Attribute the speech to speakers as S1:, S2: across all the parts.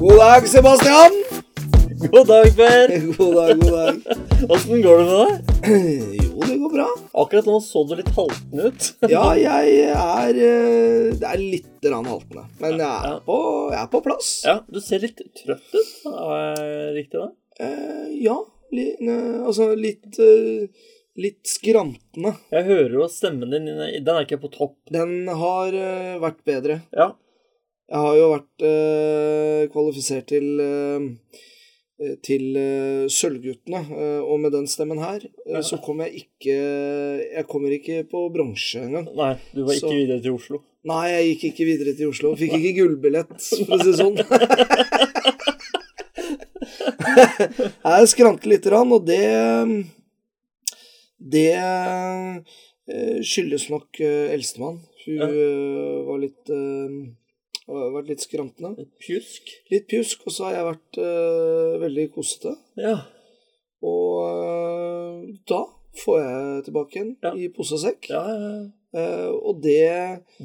S1: God dag, Sebastian!
S2: God dag, Per.
S1: God dag, god dag.
S2: Åssen går det med deg?
S1: Jo, det går bra.
S2: Akkurat nå så du litt haltende ut.
S1: Ja, jeg er eh, Det er litt rann haltende. Men jeg er på, jeg er på plass.
S2: Ja, du ser litt trøtt ut. Er det riktig da?
S1: Eh, ja. Li, ne, altså litt eh, Litt skrantende.
S2: Jeg hører jo at stemmen din den er ikke på topp.
S1: Den har eh, vært bedre.
S2: Ja.
S1: Jeg har jo vært eh, kvalifisert til eh, til eh, Sølvguttene, eh, og med den stemmen her, eh, så kommer jeg ikke Jeg kommer ikke på bronse engang.
S2: Nei, du var ikke
S1: Så-
S2: videre til Oslo.
S1: Nei, jeg gikk ikke videre til Oslo. Fikk ikke gullbillett, for å si det sånn. Jeg skranter lite grann, og det Det eh, skyldes nok eh, eldstemann. Hun
S2: Ja.
S1: eh, var litt eh, har vært litt skrantende.
S2: Et pjusk.
S1: Litt pjusk, og så har jeg vært eh, veldig kosete.
S2: Ja.
S1: Og eh, da får jeg tilbake en
S2: Ja.
S1: i pose og sekk.
S2: ja. ja.
S1: Eh, og det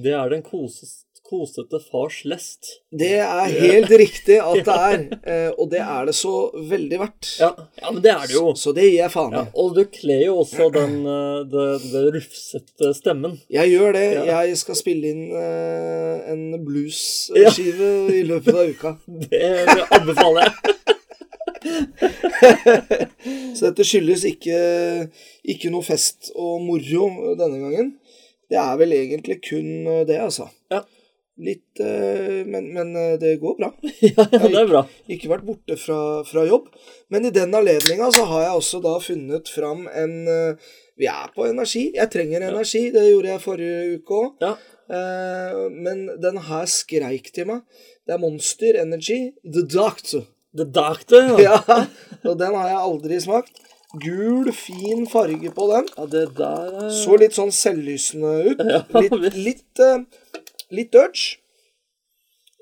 S2: Det er den koses, kosete fars lest.
S1: Det er helt riktig at det er, eh, og det er det så veldig verdt.
S2: Ja. ja, men det er det jo.
S1: Så det gir jeg faen i.
S2: Ja, og du kler jo også den, eh, det- det rufsete stemmen.
S1: Jeg gjør det.
S2: Ja.
S1: Jeg skal spille inn eh, en
S2: Ja.
S1: blues-skive i løpet av uka.
S2: Det anbefaler jeg.
S1: Så dette skyldes ikke, ikke noe fest og moro denne gangen. Det er vel egentlig kun det, altså.
S2: Ja.
S1: Litt eh, Men, men eh, det går bra.
S2: Ja, det er bra.
S1: Ikke vært borte fra, fra jobb. Men i den anledninga så har jeg også da funnet fram en eh, Vi er på energi. Jeg trenger energi. Det gjorde jeg forrige uke òg.
S2: Ja.
S1: men den her skreik til meg. Det er Monster Energy The Doctor.
S2: The Doctor.
S1: Ja, Og den har jeg aldri smakt. Gul, fin farge på den.
S2: Ja, det der er
S1: Så litt sånn selvlysende ut.
S2: Ja,
S1: Litt,
S2: visst.
S1: litt, eh, litt urge.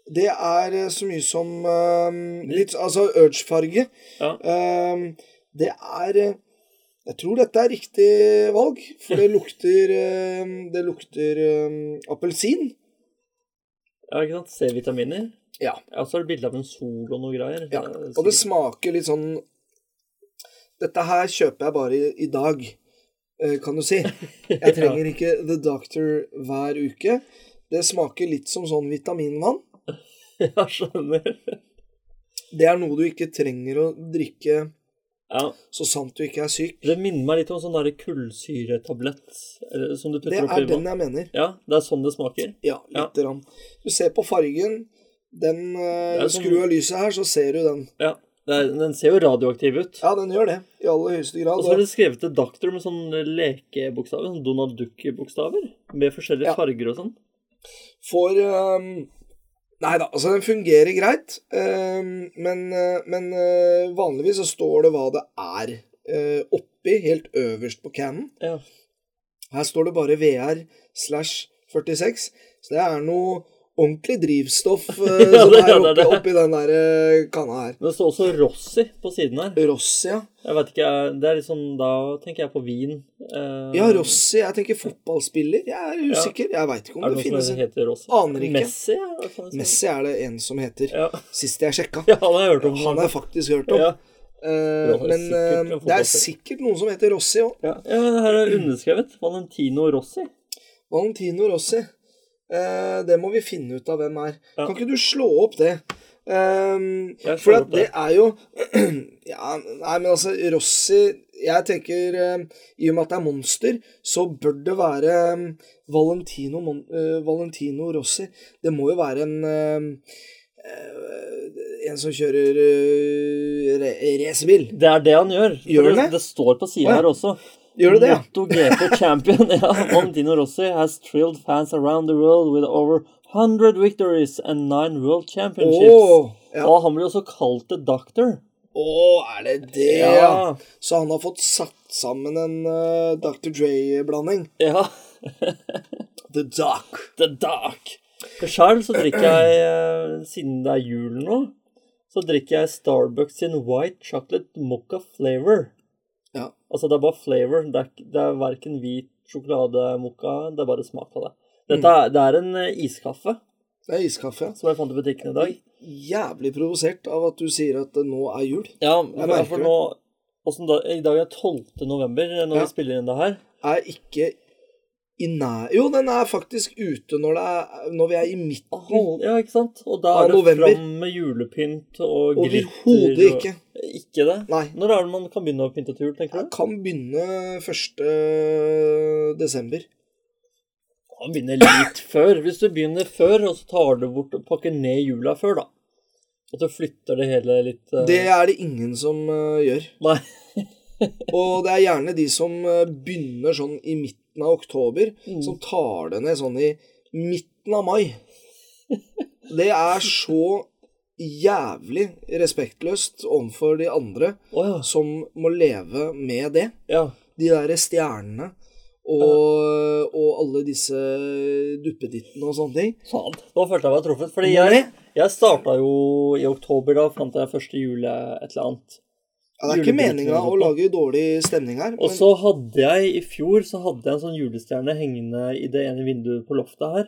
S1: Det er eh, så mye som eh, litt, Altså urge-farge.
S2: Ja.
S1: Eh, det er eh, Jeg tror dette er riktig valg, for det lukter eh, Det lukter eh, appelsin.
S2: ja, ikke sant? C-vitaminer.
S1: Ja.
S2: Ja, så er det bilde av en sol og noe greier.
S1: ja. Og det smaker litt sånn Dette her kjøper jeg bare i, i dag, eh, kan du si. Jeg trenger ikke The Doctor hver uke. Det smaker litt som sånn vitaminvann.
S2: Ja, skjønner.
S1: Det er noe du ikke trenger å drikke
S2: Ja,
S1: så sant du ikke er syk.
S2: det minner meg litt om sånn der kullsyretablett eller, som du
S1: Det
S2: putter oppi
S1: er den
S2: vann.
S1: jeg mener.
S2: Ja, det er sånn det smaker.
S1: Ja,
S2: Ja.
S1: lite grann. Du ser på fargen. Den eh,
S2: Det er sånn-
S1: Skru av lyset her, så ser du den.
S2: Ja, det er, den ser jo radioaktiv ut.
S1: Ja, den gjør det. I aller høyeste
S2: Og så er
S1: grad.
S2: det skrevet til Doctor med sånne lekebokstaver, sånn Donald Duck-bokstaver, med forskjellige
S1: Ja.
S2: farger og sånn.
S1: For ehm, Nei da, altså den fungerer greit, ehm, men, eh, men eh, vanligvis så står det hva det er eh, oppi, helt øverst på cannen.
S2: Ja.
S1: Her står det bare VR slash 46, så det er noe ordentlig drivstoff eh,
S2: Ja,
S1: som
S2: det-
S1: er
S2: ja, det er
S1: oppi,
S2: det.
S1: oppi den der eh, kanna her.
S2: Men det står også Rossi på siden her.
S1: Rossi, ja.
S2: Jeg vet ikke, det er litt sånn, da tenker jeg på vin. Eh,
S1: Ja, Rossi. Jeg tenker fotballspiller. Jeg er usikker. Jeg veit ikke om
S2: Er
S1: det
S2: det noe
S1: finnes
S2: som
S1: en
S2: heter Rossi?
S1: Aner ikke.
S2: Messi? Ja, hva faen er det?
S1: Messi er det en som heter.
S2: Ja.
S1: Sist jeg sjekka.
S2: ja, han har jeg hørt om.
S1: Han har jeg faktisk hørt om.
S2: Ja.
S1: Eh,
S2: Ja, det er
S1: men
S2: sikkert
S1: eh,
S2: en
S1: det er
S2: fotballspiller.
S1: sikkert noen som heter Rossi òg.
S2: Ja, ja det her
S1: Mm.
S2: er underskrevet. Valentino Rossi.
S1: Valentino Rossi. Eh, det må vi finne ut av hvem er.
S2: Ja.
S1: Kan ikke du slå opp det? Ehm,
S2: Jeg slår
S1: for at
S2: opp
S1: det
S2: det.
S1: er jo ja, Nei, men altså, Rossi Jeg tenker eh, I og med at det er monster, så bør det være eh, Valentino, Mon eh, Valentino Rossi. Det må jo være en eh, eh, En som kjører uh, racerbil.
S2: Det er det han gjør. for
S1: Gjør han
S2: det?
S1: det?
S2: Det står på
S1: Å,
S2: sida
S1: ja.
S2: her også.
S1: Gjør det det, ja?
S2: MotoGP champion ja, Valentino Rossi has thrilled fans around the world with over 100 victories and 9 world championships.
S1: Åh, ja.
S2: Og han blir også kalt The Doctor.
S1: Åh, er det det?
S2: Ja.
S1: Så han har fått satt sammen en eh, Dr. Dre-blanding.
S2: Ja,
S1: The Doc.
S2: The Doc. For sjøl så drikker jeg, eh, siden det er jul nå, så drikker jeg Starbucks sin White Chocolate Mocha Flavor.
S1: Ja.
S2: Altså, det er bare flavor. Det er, ikke- det er verken hvit sjokolademokka,
S1: Mm.
S2: det er bare smak av det. Dette er, det er en eh, iskaffe
S1: Det er iskaffe.
S2: som jeg fant i butikken i dag.
S1: jævlig provosert av at du sier at det nå er jul.
S2: Ja, for,
S1: merker
S2: for
S1: det.
S2: nå hvordan da, I dag er 12. november eh,
S1: Ja.
S2: når vi spiller inn det her.
S1: Er ikke i nær... Jo, den er faktisk ute når, det er, når vi er i midten.
S2: Hold, ja, ikke sant? Og da
S1: Av
S2: er det
S1: november.
S2: fram med julepynt og glitter.
S1: Overhodet
S2: og-
S1: ikke.
S2: Ikke det?
S1: Nei.
S2: Når er det man kan begynne å pynte til jul, tenker
S1: Jeg
S2: du?
S1: kan begynne 1. desember.
S2: Man begynner litt før. Hvis du begynner før, og så tar du bort og pakker ned jula før, da. At du flytter det hele litt eh,
S1: Det er det ingen som eh, gjør.
S2: Nei.
S1: Og det er gjerne de som eh, begynner sånn i midten av oktober,
S2: Mm.
S1: som tar det ned sånn i midten av mai. Det er så jævlig respektløst overfor de andre
S2: Å ja.
S1: som må leve med det.
S2: ja.
S1: De derre stjernene og, og alle disse duppedittene og sånne ting.
S2: Faen. Nå følte jeg meg truffet. Fordi
S1: Nei.
S2: jeg, jeg starta jo i oktober, da, fram til første jule et eller annet.
S1: Ja, det er ikke
S2: Julebilletter
S1: meninga
S2: og
S1: å
S2: sånt.
S1: lage dårlig stemning her,
S2: Og
S1: men
S2: så hadde jeg i fjor så hadde jeg en sånn julestjerne hengende i det ene vinduet på loftet her.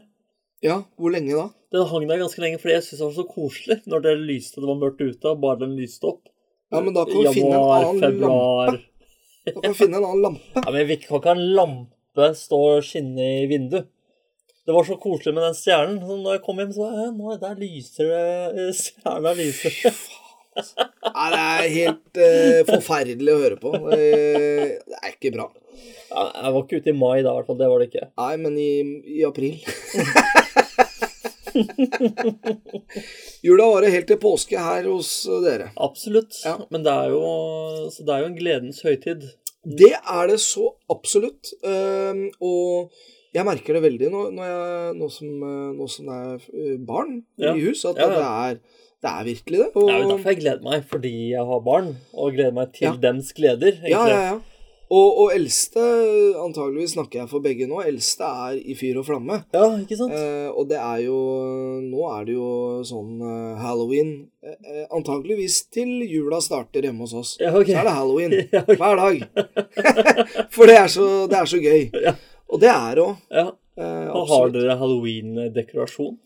S1: ja, hvor lenge da?
S2: Den hang der ganske lenge, fordi jeg syntes det var så koselig når det lyste, det var mørkt ute, og bare den lyste opp.
S1: Ja, men da kan vi finne en annen
S2: februar
S1: Du kan finne en annen lampe.
S2: Ja, men vi kan ikke ha en lampe stå og skinne i vinduet. Det var så koselig med den stjernen. Så når jeg kom hjem, så var jeg, nå, der lyser det eh, Stjerna lyser.
S1: Nei, det er helt eh, forferdelig å høre på. Eh, det er ikke bra.
S2: Ja, jeg var ikke ute i mai da, i hvert fall. Det var det ikke.
S1: Nei, men i, i april Jula varer helt til påske her hos dere.
S2: Absolutt.
S1: Ja.
S2: Men det er jo Så det er jo en gledens høytid.
S1: Det er det så absolutt. eh, og jeg merker det veldig nå, når jeg, nå, som, eh, nå som det er eh, barn
S2: Ja.
S1: i hus, at
S2: Ja, ja.
S1: Det, er, det er virkelig det.
S2: Det er jo derfor jeg gleder meg, fordi jeg har barn, og gleder meg til
S1: Ja.
S2: dems gleder. egentlig.
S1: Ja, ja, ja. Og, og eldste, antageligvis snakker jeg for begge nå, eldste er i fyr og flamme.
S2: Ja, ikke sant?
S1: Eh, og det er jo Nå er det jo sånn eh, halloween eh, eh, Antageligvis til jula starter hjemme hos oss.
S2: Ja, ok.
S1: Så er det halloween
S2: Ja, ok.
S1: hver dag. for det er så, det er så gøy.
S2: Ja.
S1: Og det er òg.
S2: Ja.
S1: Eh,
S2: Og har
S1: absolutt.
S2: dere halloween-dekorasjon?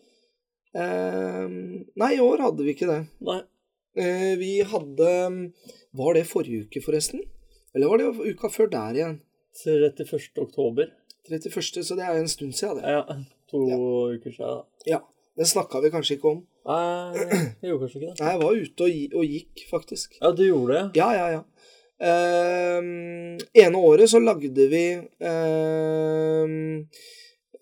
S1: Eh, nei, i år hadde vi ikke det.
S2: Nei.
S1: Eh, vi hadde mm, Var det forrige uke, forresten? Eller var det uka før der igjen?
S2: Så rett til 1. oktober.
S1: 31., så det er en stund siden, det.
S2: Ja, to uker siden.
S1: Ja, det snakka vi kanskje ikke om.
S2: Nei, jeg gjorde kanskje ikke det.
S1: Nei, jeg var ute og, gi, og gikk, faktisk.
S2: Ja, du gjorde det?
S1: Ja, ja, ja. Ehm, ene året så lagde vi ehm,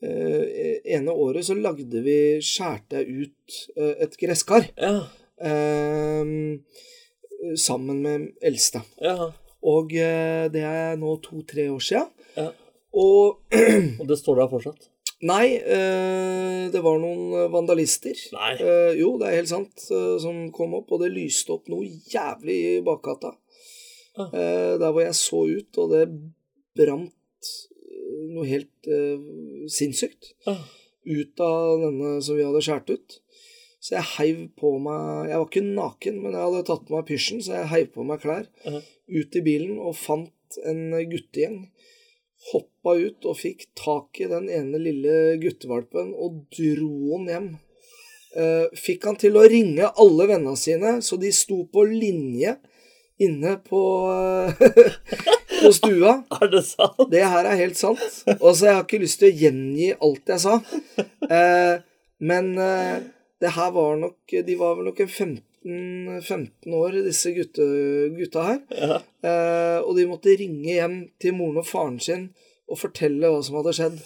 S1: eh, Ene året så lagde vi Skjærte jeg ut eh, et gresskar
S2: Ja.
S1: ehm, sammen med eldste.
S2: ja.
S1: Og eh, det er nå to-tre år sia.
S2: Ja.
S1: Og
S2: Og det står der fortsatt?
S1: Nei, eh, det var noen vandalister.
S2: Nei.
S1: Eh, jo, det er helt sant, eh, som kom opp, og det lyste opp noe jævlig i bakgata.
S2: Ah.
S1: Eh, der hvor jeg så ut, og det brant eh, noe helt eh, sinnssykt
S2: Ja.
S1: ut av denne som vi hadde skåret ut. Så jeg heiv på meg Jeg var ikke naken, men jeg hadde tatt på meg pysjen, så jeg heiv på meg klær.
S2: Mhm.
S1: Ut i bilen og fant en guttegjeng. Hoppa ut og fikk tak i den ene lille guttevalpen og dro han hjem. Eh, fikk han til å ringe alle vennene sine, så de sto på linje inne på, eh, på stua.
S2: Er det sant?
S1: Det her er helt sant. Og så jeg har ikke lyst til å gjengi alt jeg sa. Eh, men eh, det her var nok De var vel nok en 15, 15 år, disse gutte, gutta her.
S2: Ja.
S1: Eh, og de måtte ringe hjem til moren og faren sin og fortelle hva som hadde skjedd.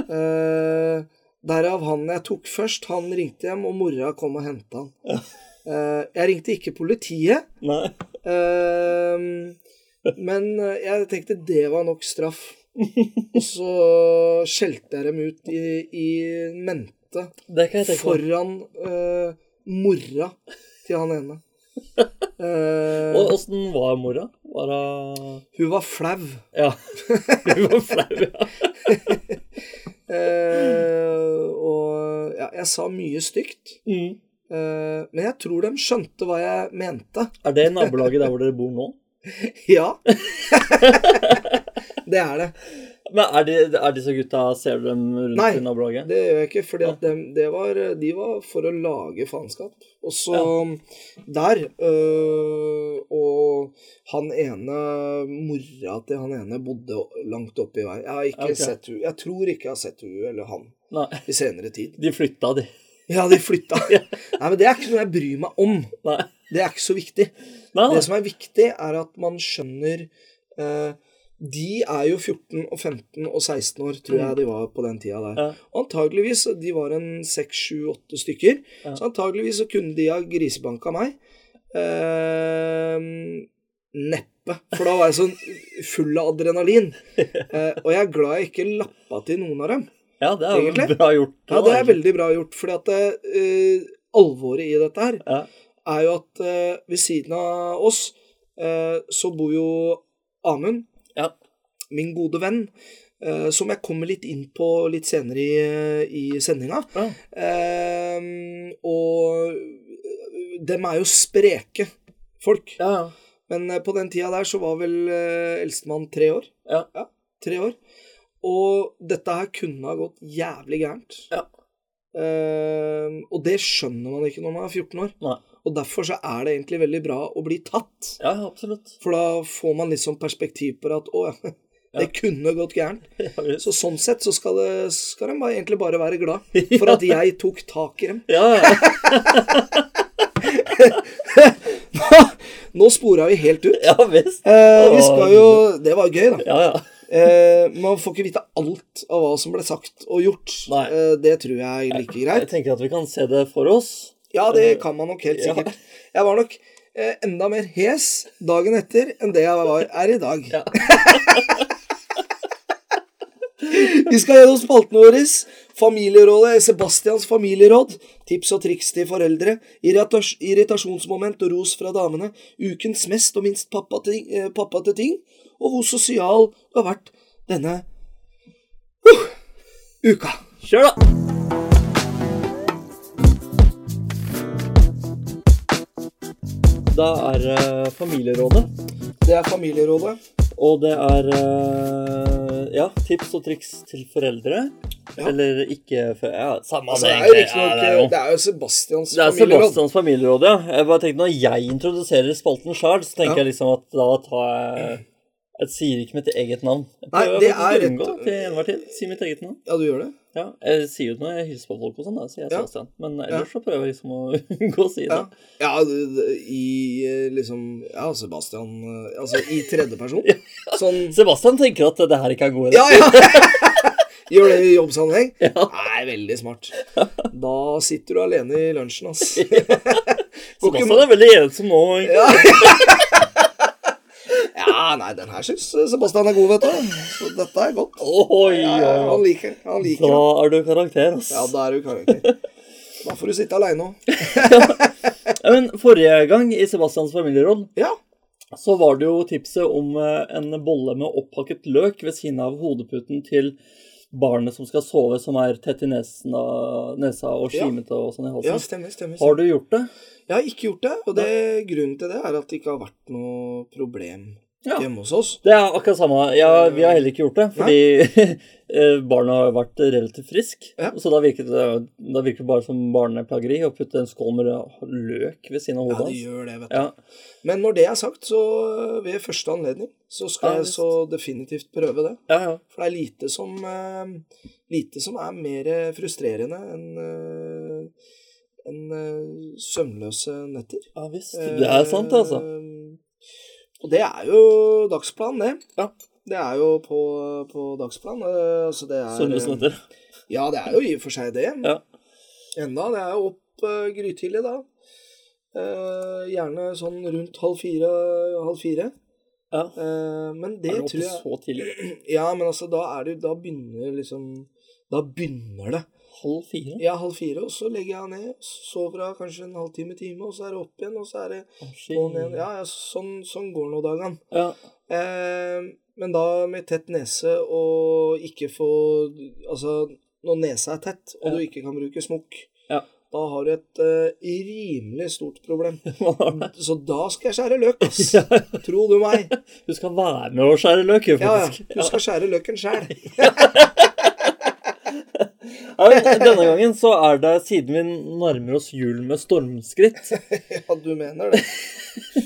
S1: Eh, derav han jeg tok først, han ringte hjem, og mora kom og henta han. Eh, jeg ringte ikke politiet.
S2: Nei.
S1: Ehm, men eh, jeg tenkte det var nok straff. Og så skjelte jeg dem ut i, i mente
S2: Det kan jeg tenke meg.
S1: foran eh, mora til han ene. Eh,
S2: Og åssen var mora? Var hun
S1: hun var flau.
S2: Ja. Hun var flau, ja.
S1: Eh, og ja, jeg sa mye stygt.
S2: Mm.
S1: eh, men jeg tror de skjønte hva jeg mente.
S2: Er det nabolaget der hvor dere bor nå?
S1: Ja. det er det.
S2: Men er, de, er disse gutta Ser du dem rundt
S1: Nei.
S2: i nabolaget?
S1: Det gjør jeg ikke, fordi at dem- det var, de var for å lage faenskap. Og så der øh, Og han ene Mora til han ene bodde langt oppe i vei. Jeg har ikke
S2: Ok.
S1: sett henne. Jeg tror ikke jeg har sett henne eller han
S2: Nei.
S1: i senere tid.
S2: De flytta, de.
S1: Ja, de flytta. Nei, men det er ikke noe jeg bryr meg om.
S2: Nei.
S1: Det er ikke så viktig.
S2: Nei.
S1: Det som er viktig, er at man skjønner eh, De er jo 14 og 15 og 16 år, tror jeg de var på den tida der.
S2: Ja.
S1: Og antageligvis, De var en 6-7-8 stykker,
S2: Ja.
S1: så antageligvis så kunne de ha grisebanka meg. Eh, neppe. For da var jeg sånn full av adrenalin. Eh, og jeg er glad jeg ikke lappa til noen av dem.
S2: Ja, det er jo
S1: Egentlig?
S2: bra gjort.
S1: Ja,
S2: da,
S1: Det er
S2: egentlig.
S1: veldig bra gjort, fordi at eh, alvoret i dette her
S2: ja.
S1: er jo at eh, ved siden av oss eh, så bor jo Amund,
S2: Ja.
S1: min gode venn, eh, som jeg kommer litt inn på litt senere i, eh, i sendinga.
S2: Ja.
S1: Eh, og dem er jo spreke folk.
S2: Ja, ja.
S1: Men eh, på den tida der så var vel eh, eldstemann tre år.
S2: Ja.
S1: Tre år. Og dette her kunne ha gått jævlig gærent.
S2: Ja.
S1: Eh, og det skjønner man ikke når man er 14 år.
S2: Nei.
S1: Og derfor så er det egentlig veldig bra å bli tatt.
S2: ja, absolutt.
S1: For da får man litt sånn perspektiv på det at å ja, det kunne gått gærent.
S2: Ja, visst.
S1: Så sånn sett så skal, det, skal de bare, egentlig bare være glad for at jeg tok tak i dem.
S2: Ja, ja.
S1: Nå spora vi helt ut.
S2: ja visst.
S1: Eh, vi skal jo Det var jo gøy, da.
S2: Ja, ja.
S1: Eh, man får ikke vite alt av hva som ble sagt og gjort.
S2: Nei.
S1: Eh, det tror jeg er like
S2: Jeg
S1: greit.
S2: tenker at vi kan se det for oss.
S1: Ja, det kan man nok helt
S2: Eh, Ja.
S1: sikkert. Jeg var nok eh, enda mer hes dagen etter enn det jeg var, er i dag.
S2: Ja.
S1: Vi skal gjennom spalten vår. Familierådet, Sebastians familieråd. Tips og triks til foreldre. irritas- Irritasjonsmoment og ros fra damene. Ukens mest og minst pappa til, eh, pappa til ting. Og hvor sosial du har vært denne uh, uka.
S2: Kjør, da! Da er det familierådet,
S1: Det er familierådet.
S2: og det er eh, ja, tips og triks til foreldre.
S1: Ja.
S2: Eller ikke for, ja, Samme
S1: Altså,
S2: det,
S1: det er jo
S2: egentlig.
S1: riktignok
S2: Ja, det er jo-
S1: Det er jo Sebastians
S2: det er
S1: familieråd.
S2: Sebastians familieråd, ja. Jeg bare tenkte Når jeg introduserer spalten sjøl, så
S1: Ja.
S2: tenker jeg liksom at da tar jeg Jeg sier ikke mitt eget navn. Jeg
S1: Nei,
S2: prøver
S1: det
S2: faktisk å
S1: er
S2: unngå
S1: rett-
S2: til enhver tid. Si mitt eget navn.
S1: Ja, du gjør det?
S2: Ja, jeg sier jo det når jeg hilser på folk og sånn, da, sier jeg
S1: Ja.
S2: Sebastian. Men ellers så prøver jeg liksom å unngå å si det.
S1: Ja. ja du- du- I eh, liksom Ja, Sebastian eh, Altså i tredjeperson. Sånn
S2: Sebastian tenker at det her ikke er god idé.
S1: Ja, ja! Gjør det i jobbsammenheng?
S2: Ja.
S1: Nei, veldig smart. Da sitter du alene i lunsjen, ass. Går ikke
S2: Sebastian er veldig ensom nå. egentlig.
S1: Ja. ja, nei, den her syns Sebastian er god, vet du. Så dette er godt.
S2: Oi,
S1: Ja,
S2: oi,
S1: ja,
S2: oi.
S1: han liker han liker
S2: Da
S1: det.
S2: er du karakter, ass.
S1: Ja, da er du karakter. Da får du sitte aleine òg.
S2: Ja, men forrige gang i Sebastians familieråd
S1: Ja.
S2: så var det jo tipset om eh, en bolle med opphakket løk ved siden av hodeputen til barnet som skal sove, som er tett i nesen av nesa og
S1: Ja.
S2: slimete og sånn i
S1: ja,
S2: halsen.
S1: stemmer. stemmer.
S2: Har du gjort det?
S1: Jeg har ikke gjort det, og det, grunnen til det er at det ikke har vært noe problem
S2: Ja.
S1: hjemme hos oss.
S2: Det er akkurat samme. Ja, vi har heller ikke gjort det, fordi eh, barna har vært relativt frisk.
S1: Ja.
S2: Så da virket det da virket det bare som barneplageri å putte en skål med løk ved siden av
S1: Ja,
S2: hodet
S1: det
S2: hans.
S1: gjør det, vet du.
S2: Ja,
S1: Men når det er sagt, så øh, ved første anledning, så skal
S2: Ja,
S1: jeg
S2: visst.
S1: så definitivt prøve det.
S2: ja, ja.
S1: For det er lite som, øh, lite som er mer øh, frustrerende enn øh, enn, øh, søvnløse netter.
S2: ja visst. Det er sant, altså.
S1: Eh, Og det er jo dagsplan, det.
S2: Ja.
S1: Det er jo på, øh, på dagsplan. eh, Altså det er
S2: Søvnløse
S1: eh,
S2: netter.
S1: Ja, det er jo i og for seg det.
S2: Ja.
S1: Enda. Det er jo opp eh, grytidlig, da. Eh, gjerne sånn rundt halv fire, halv fire.
S2: Ja.
S1: Eh, men det
S2: Er du
S1: tror
S2: oppe
S1: jeg
S2: så tidlig?
S1: Ja, men altså, da er det Da begynner liksom Da begynner det.
S2: Halv fire?
S1: Jeg er halv fire, og så legger jeg ned. Sover jeg kanskje en halvtime, time, og så er det opp igjen, og så er det på'n igjen. Ja, ja, sånn, sånn går nå dagene.
S2: Ja.
S1: Eh, men da med tett nese og ikke få Altså, når nesa er tett, og
S2: Ja.
S1: du ikke kan bruke smokk,
S2: Ja.
S1: da har du et eh, rimelig stort problem. Så da skal jeg skjære løk, ass.
S2: Ja.
S1: Tro du meg.
S2: Du skal være med og skjære løk, jo,
S1: Ja, ja.
S2: faktisk.
S1: Du skal skjære løken sjæl.
S2: Ja, men Denne gangen så er det siden vi nærmer oss jul med stormskritt,
S1: Ja, du mener det.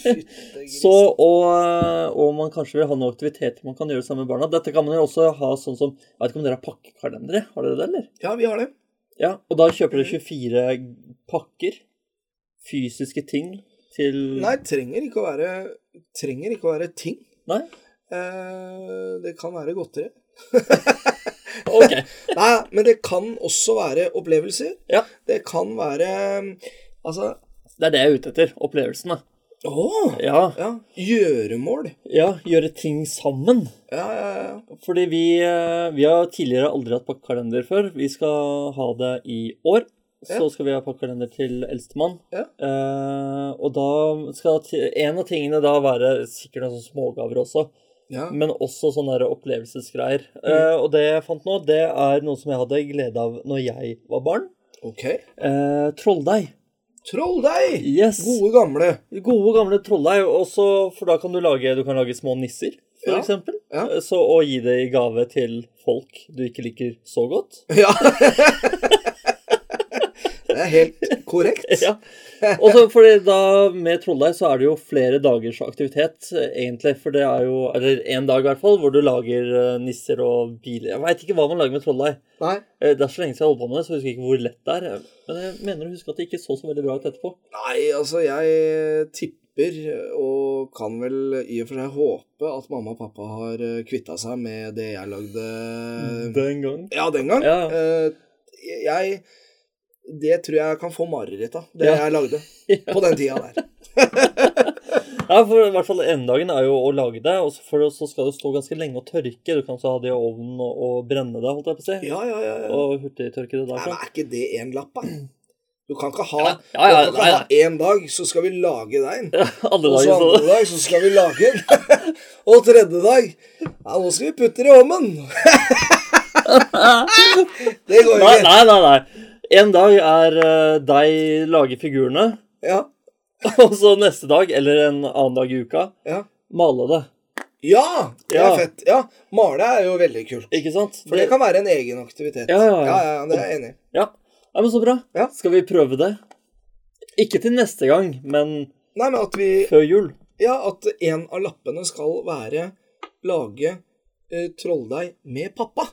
S1: Fyttegris.
S2: så, og, og man kanskje vil ha noen aktiviteter man kan gjøre sammen med barna. Dette kan man jo også ha sånn som Jeg vet ikke om dere har pakkekalendere? Har dere det, eller?
S1: Ja, vi har det.
S2: Ja, og da kjøper dere 24 pakker. Fysiske ting til
S1: Nei, trenger ikke å være, trenger ikke å være ting.
S2: Nei?
S1: Eh, det kan være godteri.
S2: Ok.
S1: Nei, men det kan også være opplevelser.
S2: Ja.
S1: Det kan være Altså
S2: Det er det jeg er ute etter. Opplevelsene.
S1: Å!
S2: Ja.
S1: Ja. Gjøremål.
S2: ja gjøre ting sammen.
S1: Ja, ja, ja.
S2: Fordi vi, eh, vi har tidligere aldri hatt pakkekalender før. Vi skal ha det i år. Så
S1: Ja.
S2: skal vi ha pakkekalender til eldstemann.
S1: Ja.
S2: Eh, og da skal ti- en av tingene da være sikkert noen sånne smågaver også.
S1: ja.
S2: Men også sånne der opplevelsesgreier.
S1: Mm.
S2: Eh, og det jeg fant nå, det er noe som jeg hadde glede av når jeg var barn.
S1: Ok.
S2: Eh, trolldeig.
S1: Trolldeig!
S2: Yes. Gode.
S1: Gode, gamle.
S2: gamle trolldeig. Også, for da kan du lage, du kan lage små nisser, for
S1: Ja.
S2: eksempel.
S1: Ja.
S2: Eh, Så, og gi det i gave til folk du ikke liker så godt.
S1: Ja. det er helt korrekt.
S2: Ja. Og så fordi da med trolldeig så er det jo flere dagers aktivitet, eh, egentlig. For det er jo Eller én dag, i hvert fall, hvor du lager eh, nisser og biler. Jeg veit ikke hva man lager med trolldeig.
S1: Nei.
S2: Eh, Det er så lenge siden jeg holdt på med det, så jeg husker ikke hvor lett det er. Men jeg mener å huske at det ikke så så veldig bra ut etterpå.
S1: Nei, altså, jeg tipper og kan vel i og for seg håpe at mamma og pappa har eh, kvitta seg med det jeg lagde
S2: Den gang.
S1: Eh, Ja, den gang.
S2: Ja.
S1: Eh, Jeg Det tror jeg kan få mareritt av, det
S2: Ja.
S1: jeg lagde på den tida der.
S2: Ja, for i hvert fall endedagen er jo å lage det, og så, for, så skal det stå ganske lenge og tørke. Du kan så ha det i ovnen og, og brenne det, holdt jeg på å si.
S1: Ja, ja, ja. ja.
S2: Og hurtigtørke det
S1: Nei, men
S2: derfra.
S1: er ikke det én lapp, da? Du kan ikke ha
S2: Ja, ja, ja,
S1: Du kan
S2: nei,
S1: ikke
S2: nei.
S1: ha én dag, så skal vi lage deg en.
S2: Andre
S1: Og så
S2: dagen
S1: andre
S2: så
S1: dag så skal vi lage en. Og tredje dag Ja, nå skal vi putte det i ovnen. Det går jo
S2: Nei,
S1: ikke.
S2: nei, nei. nei. En dag er eh, deg lager figurene,
S1: Ja,
S2: og så neste dag, eller en annen dag i uka,
S1: ja.
S2: male det.
S1: ja, det er
S2: Ja.
S1: fett. Ja, Male er jo veldig kult.
S2: Ikke sant?
S1: For det kan være en egen aktivitet.
S2: Ja, ja, ja.
S1: ja det er jeg enig i.
S2: Ja. ja, men så bra.
S1: Ja.
S2: Skal vi prøve det? Ikke til neste gang, men
S1: Nei, men at vi
S2: før jul.
S1: Ja, at en av lappene skal være lage eh, trolldeig med pappa.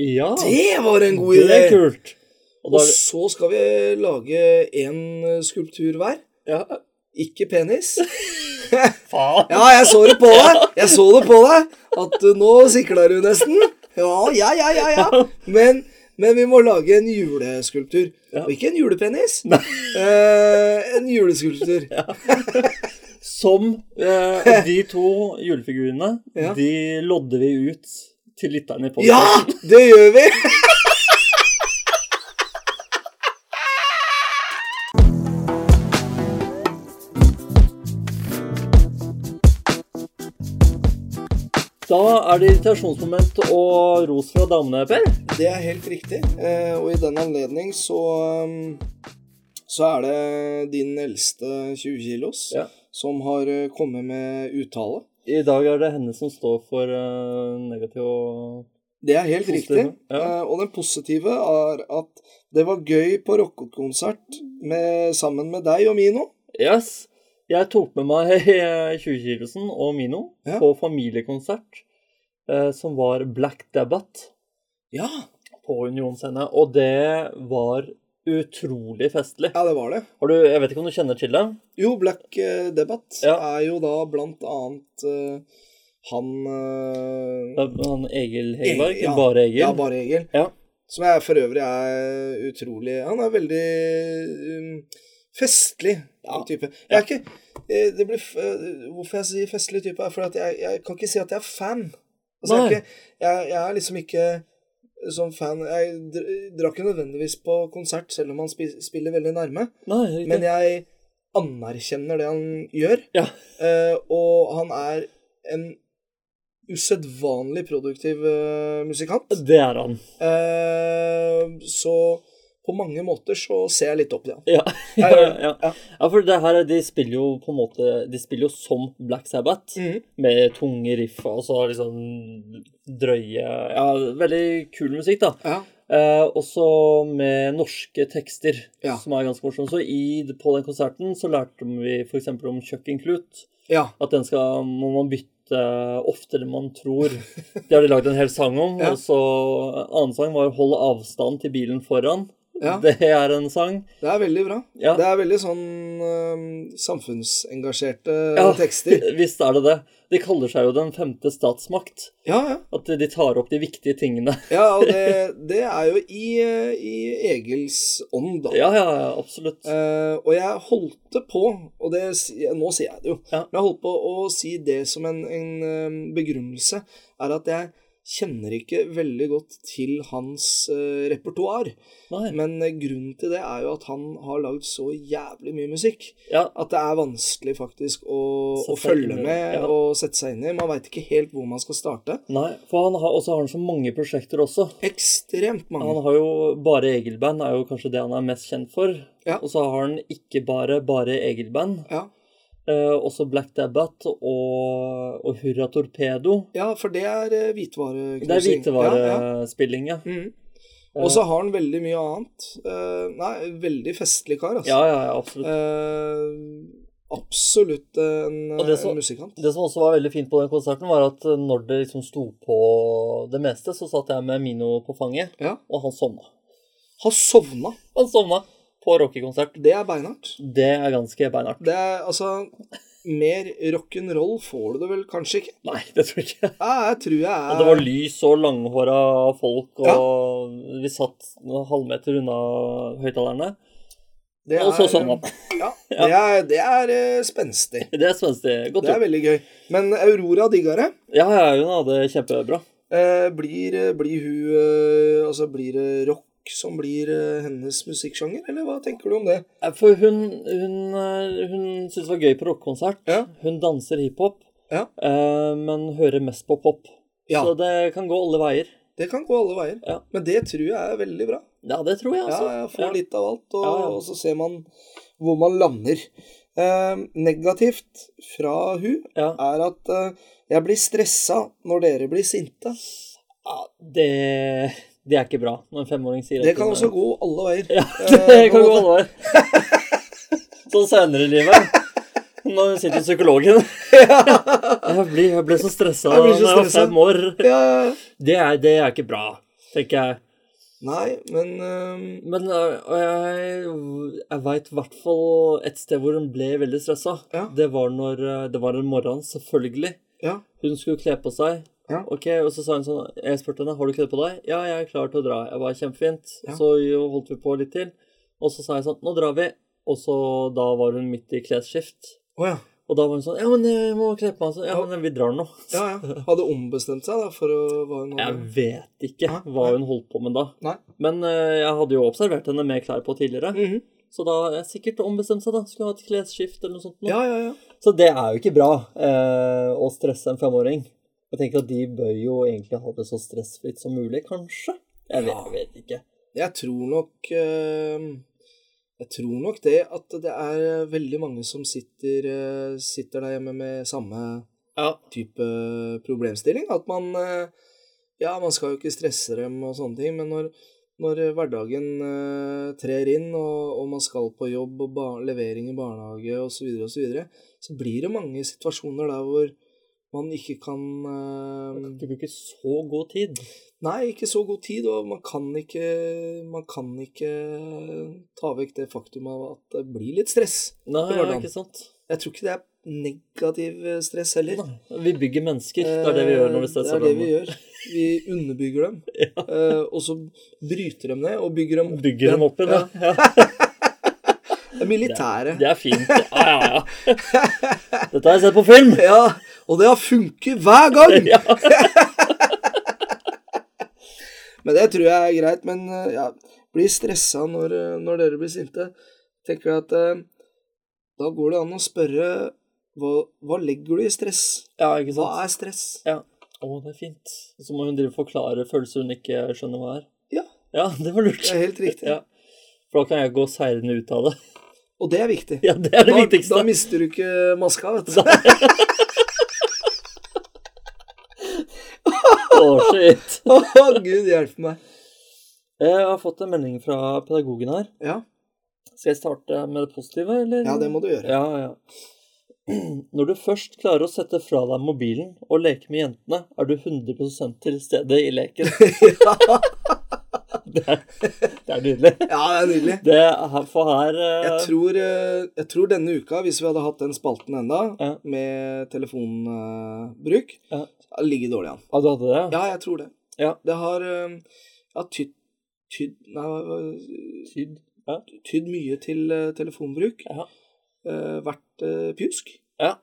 S2: Ja,
S1: Det var en god
S2: det
S1: idé!
S2: er kult. Og
S1: Og
S2: da,
S1: så skal vi lage en eh, skulptur hver.
S2: ja,
S1: Ikke penis.
S2: faen.
S1: Ja, jeg så det på deg. Jeg så det på deg. At du, nå sikla du nesten. Ja, ja, ja, ja. ja. Men, men vi må lage en juleskulptur.
S2: Ja.
S1: Og ikke en julepenis. Eh, en juleskulptur.
S2: Som eh, og de to julefigurene,
S1: Ja.
S2: de lodder vi ut til lytterne i
S1: Ja,
S2: podcasten.
S1: det gjør vi!
S2: Da er det irritasjonsmoment og ros fra damene, Per.
S1: Det er helt riktig. Eh, og i den anledning så um, så er det din eldste 20 kilos
S2: Ja.
S1: som har eh, kommet med uttale.
S2: I dag er det henne som står for eh, negativ og
S1: Det er helt
S2: Positive,
S1: riktig.
S2: ja.
S1: Eh, og den positive er at det var gøy på rockekonsert med- sammen med deg og Mino.
S2: Yes. Jeg tok med meg 20-kilosen og Mino
S1: Ja.
S2: på familiekonsert eh, som var Black Dabbat
S1: Ja,
S2: på Unionsscena, og det var utrolig festlig.
S1: ja det var det.
S2: Har du, jeg vet ikke om du kjenner til det?
S1: Jo, Black eh, Debatt
S2: Ja.
S1: er jo da blant annet eh, han eh,
S2: Det er Han Egil Hegerberg?
S1: Egil, ja.
S2: Bare Egil?
S1: Ja, bare Egil.
S2: Ja.
S1: Som jeg for øvrig er utrolig Han er veldig um, festlig
S2: Ja.
S1: type. Jeg er ikke eh, det blir, f- eh, Hvorfor jeg sier festlig type, er fordi at jeg, jeg kan ikke si at jeg er fan. Altså, jeg, er
S2: Nei.
S1: ikke, jeg, jeg er liksom ikke som fan Jeg dr- drar ikke nødvendigvis på konsert, selv om han spi, spiller veldig nærme.
S2: Nei, riktig.
S1: Men jeg anerkjenner det han gjør,
S2: Ja.
S1: eh, og han er en usedvanlig produktiv eh, musikant.
S2: Det er han.
S1: Eh, så på mange måter så ser jeg litt opp til han.
S2: Ja.
S1: Jeg
S2: ja,
S1: gjør det.
S2: ja. ja, for det her, de spiller jo på en måte De spiller jo som Black Sabbath,
S1: Mhm.
S2: med tunge riff og så liksom drøye Ja, veldig kul musikk, da.
S1: Ja.
S2: Eh, også med norske tekster,
S1: Ja.
S2: som er ganske morsomme. Så i, på den konserten så lærte vi f.eks. om kjøkkenklut.
S1: ja.
S2: At den skal, må man bytte oftere enn man tror. Det har de lagd en hel sang om.
S1: Ja.
S2: Og så en annen sang var 'Hold avstand til bilen foran'.
S1: Ja.
S2: Det er en sang.
S1: Det er veldig bra.
S2: Ja.
S1: Det er veldig sånn øhm, samfunnsengasjerte
S2: Ja.
S1: tekster.
S2: Visst er det det. De kaller seg jo Den femte statsmakt.
S1: Ja, ja.
S2: At de tar opp de viktige tingene.
S1: ja og det, det er jo i, øh, i Egils ånd, da.
S2: Ja, ja, ja, absolutt.
S1: Eh, og jeg holdt det på, og det, si- nå sier jeg det jo,
S2: Ja.
S1: men jeg holdt på å si det som en, en øhm, begrunnelse, er at jeg kjenner ikke veldig godt til hans øh, repertoar.
S2: Nei.
S1: Men øh, grunnen til det er jo at han har lagd så jævlig mye musikk.
S2: Ja,
S1: at det er vanskelig faktisk å, å
S2: Sette seg
S1: følge
S2: inn i-
S1: med
S2: ja.
S1: og sette seg inn i. Man veit ikke helt hvor man skal starte.
S2: nei, for han har, også har han så mange prosjekter også.
S1: Ekstremt mange.
S2: Han har jo Bare Egil-band er jo kanskje det han er mest kjent for.
S1: Ja.
S2: Og så har han ikke bare Bare Egil-band.
S1: Ja.
S2: Eh, også Black Dabbat og, og Hurra Torpedo.
S1: ja, for det er eh, hvitvareknusing.
S2: Det er
S1: Ja, ja.
S2: hvitevarespilling, ja.
S1: Mhm. Og så har han veldig mye annet. Eh, nei, veldig festlig kar, altså.
S2: Ja, ja, ja, absolutt.
S1: Eh, absolutt en,
S2: Og det så-
S1: en musikant.
S2: Det som også var veldig fint på den konserten, var at eh, når det liksom sto på det meste, så satt jeg med Mino på fanget,
S1: Ja.
S2: og han sovna.
S1: Har sovna.
S2: Han sovna på rockekonsert.
S1: Det er beinhardt.
S2: Det er ganske beinhardt.
S1: Det er altså Mer rock'n'roll får du det vel kanskje ikke?
S2: Nei, det tror jeg ikke.
S1: Ja, jeg tror jeg er
S2: Og det var lys og langhåra folk, og
S1: Ja.
S2: vi satt noen halvmeter unna høyttalerne.
S1: det
S2: Og så
S1: er-
S2: sovna han.
S1: Ja, det er, det er eh, spenstig.
S2: Det er spenstig. Godt
S1: Det er
S2: gjort.
S1: veldig gøy. Men Aurora digger det.
S2: Ja, ja, hun hadde det kjempebra.
S1: Eh, blir, eh, blir hun eh, Altså, blir det rock som blir eh, hennes musikksjanger, eller hva tenker du om det?
S2: For hun, hun, eh, hun syntes det var gøy på rockekonsert.
S1: Ja.
S2: Hun danser hiphop,
S1: Ja.
S2: eh, men hører mest på pop.
S1: Ja.
S2: Så det kan gå alle veier.
S1: Det kan gå alle veier.
S2: Ja.
S1: Men det tror jeg er veldig bra.
S2: Ja, det tror jeg,
S1: Ja,
S2: altså.
S1: jeg får litt av alt, og,
S2: Ja, ja.
S1: og så ser man hvor man lander. Eh, negativt fra hun
S2: Ja.
S1: er at eh, jeg blir stressa når dere blir sinte.
S2: Ja, det, det er ikke bra når en femåring sier
S1: Det kan også gå alle veier.
S2: Ja,
S1: Eh,
S2: det
S1: på en
S2: kan gå
S1: måte.
S2: alle veier. Sånn senere i livet. Når hun sitter hos psykologen. Jeg ble, jeg ble så stressa da
S1: Jeg blir
S2: jeg
S1: så
S2: var
S1: stressa.
S2: fem år.
S1: Ja, ja, ja.
S2: Det er, det er ikke bra, tenker jeg.
S1: Nei, men eh,
S2: Men øh, og jeg, jeg veit i hvert fall et sted hvor hun ble veldig stressa.
S1: Ja.
S2: Det var når øh, Det var en morgen, selvfølgelig.
S1: Ja.
S2: Hun skulle kle på seg.
S1: Ja.
S2: Ok, Og så sa hun sånn Jeg spurte henne har du kledd på deg. Ja, jeg er klar til å dra. Jeg var kjempefint.
S1: Ja.
S2: Så jo, holdt vi på litt til. Og så sa jeg sånn Nå drar vi. Og så da var hun midt i klesskift.
S1: Å ja.
S2: Og da var hun sånn Ja, men jeg må kle på meg. Så, ja, men vi drar nå.
S1: Ja, ja. Hadde ombestemt seg da, for å, hva hun
S2: Jeg
S1: hadde
S2: vet ikke
S1: Nei,
S2: hva
S1: nei.
S2: hun holdt på med da.
S1: Nei.
S2: Men øh, jeg hadde jo observert henne med klær på tidligere.
S1: Mhm.
S2: Så da er jeg sikkert ombestemt seg, da. Skulle ha et klesskift eller noe sånt. nå.
S1: Ja, ja, ja.
S2: Så det er jo ikke bra eh, å stresse en femåring. Jeg tenker at de bør jo egentlig ha det så stressfritt som mulig, kanskje. Jeg vet,
S1: Ja.
S2: jeg vet ikke.
S1: Jeg tror nok eh, Jeg tror nok det at det er veldig mange som sitter, eh, sitter der hjemme med samme
S2: Ja.
S1: type problemstilling. At man eh, Ja, man skal jo ikke stresse dem og sånne ting, men når, når hverdagen eh, trer inn, og, og man skal på jobb og ba levering i barnehage osv., så, videre og så, videre, så blir det mange situasjoner der hvor man ikke kan
S2: Man
S1: eh,
S2: kan ikke bruke så god tid.
S1: Nei, ikke så god tid, og man kan ikke, man kan ikke ta vekk det faktum av at det blir litt stress.
S2: Nei,
S1: Det var
S2: ja,
S1: det.
S2: ikke sant?
S1: Jeg tror ikke det er negativ eh, stress heller.
S2: Nei. Vi bygger mennesker. Det er det vi gjør når vi
S1: Det
S2: stresser
S1: er Eh, det vi
S2: hverandre.
S1: gjør. Vi underbygger dem, eh, og så bryter dem ned og bygger dem opp.
S2: Bygger dem opp igjen.
S1: Ja.
S2: Ja.
S1: Det er militære.
S2: Det er fint. Ja, ja, ja. Dette har jeg sett på film.
S1: Ja, og det har funket hver gang!
S2: Ja.
S1: Men det tror jeg er greit. Men eh, ja, bli stressa når, eh, når dere blir sinte. Tenker jeg at eh, da går det an å spørre hva, hva legger du i stress?
S2: ja, ikke
S1: Hva
S2: sant?
S1: er stress?
S2: Ja. Å, det er fint. Så må hun drive og forklare følelser hun ikke skjønner hva er.
S1: Ja.
S2: ja det var lurt.
S1: Det er helt riktig.
S2: Ja. For da kan jeg gå seirende ut av det.
S1: Og det er viktig.
S2: Ja, det er det
S1: da,
S2: viktigste.
S1: da mister du ikke maska, vet du.
S2: Å, shit.
S1: Å, gud hjelpe meg.
S2: Jeg har fått en melding fra pedagogen her.
S1: Ja.
S2: Skal jeg starte med det positive, eller?
S1: ja, det må du gjøre.
S2: Ja, ja. Når du først klarer å sette fra deg mobilen og leke med jentene, er du 100 til stede i leken. det, er, det er nydelig.
S1: Ja, det er nydelig.
S2: Det er for her eh,
S1: Jeg tror, eh, jeg tror denne uka, hvis vi hadde hatt den spalten enda,
S2: Ja.
S1: med telefonbruk,
S2: Ja.
S1: ligger dårlig an.
S2: Ja, du hadde det?
S1: Ja, jeg tror det.
S2: Ja.
S1: Det har eh, ja, tydd tydd, nei, hva-
S2: Tid. Ja.
S1: tydd mye til eh, telefonbruk.
S2: Ja.
S1: Eh, vært eh, pjusk.
S2: Ja.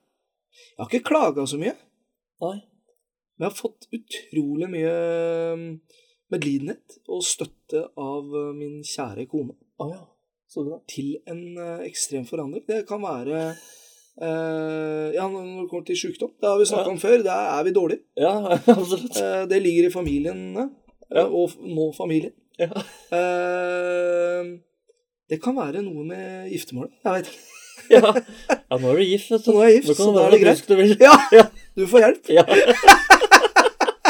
S1: Jeg har ikke klaga så mye,
S2: Nei.
S1: men jeg har fått utrolig mye eh, medlidenhet og støtte av eh, min kjære kone.
S2: Å ja. Så bra.
S1: til en eh, ekstrem forandring. Det kan være eh, Ja, når det kommer til sjukdom. Det har vi snakka
S2: Ja.
S1: om før. Der er vi dårlige.
S2: Ja, absolutt.
S1: Eh, det ligger i familiene,
S2: Ja.
S1: eh, og f- nå familien.
S2: Ja.
S1: Eh, det kan være noe med giftermålet. Jeg vet ikke.
S2: Ja. ja, nå er du gift, vet du.
S1: Så nå er jeg gift,
S2: Nå kan
S1: så
S2: du
S1: da er
S2: være
S1: det
S2: så
S1: greit.
S2: brusk du vil.
S1: Ja,
S2: Ja.
S1: du får hjelp.
S2: Ja,
S1: Men hun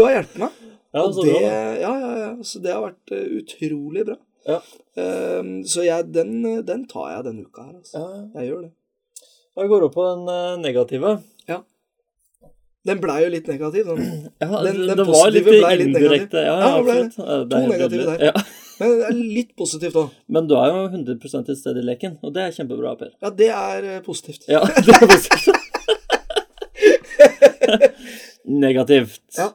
S1: har hjulpet meg.
S2: ja
S1: og
S2: så
S1: det,
S2: bra. da.
S1: ja, ja, ja. Så det har vært eh, utrolig bra.
S2: Ja.
S1: Eh, så jeg, den, den tar jeg denne uka her. Altså.
S2: Ja.
S1: Jeg gjør det.
S2: Jeg går opp på den eh, negative.
S1: Den blei jo litt negativ, den.
S2: Ja,
S1: Den-
S2: det-
S1: den
S2: det var litt
S1: positive ble litt
S2: indirekte. Ja, ja,
S1: Ja, det ble
S2: absolutt. Ja,
S1: to
S2: det er helt
S1: negative
S2: nydelig.
S1: der.
S2: Ja.
S1: Men det er litt positivt òg.
S2: Men du er jo 100 til stede i leken, og det er kjempebra, Per.
S1: Ja, det er eh, positivt.
S2: Ja, det er positivt. Negativt.
S1: Ja.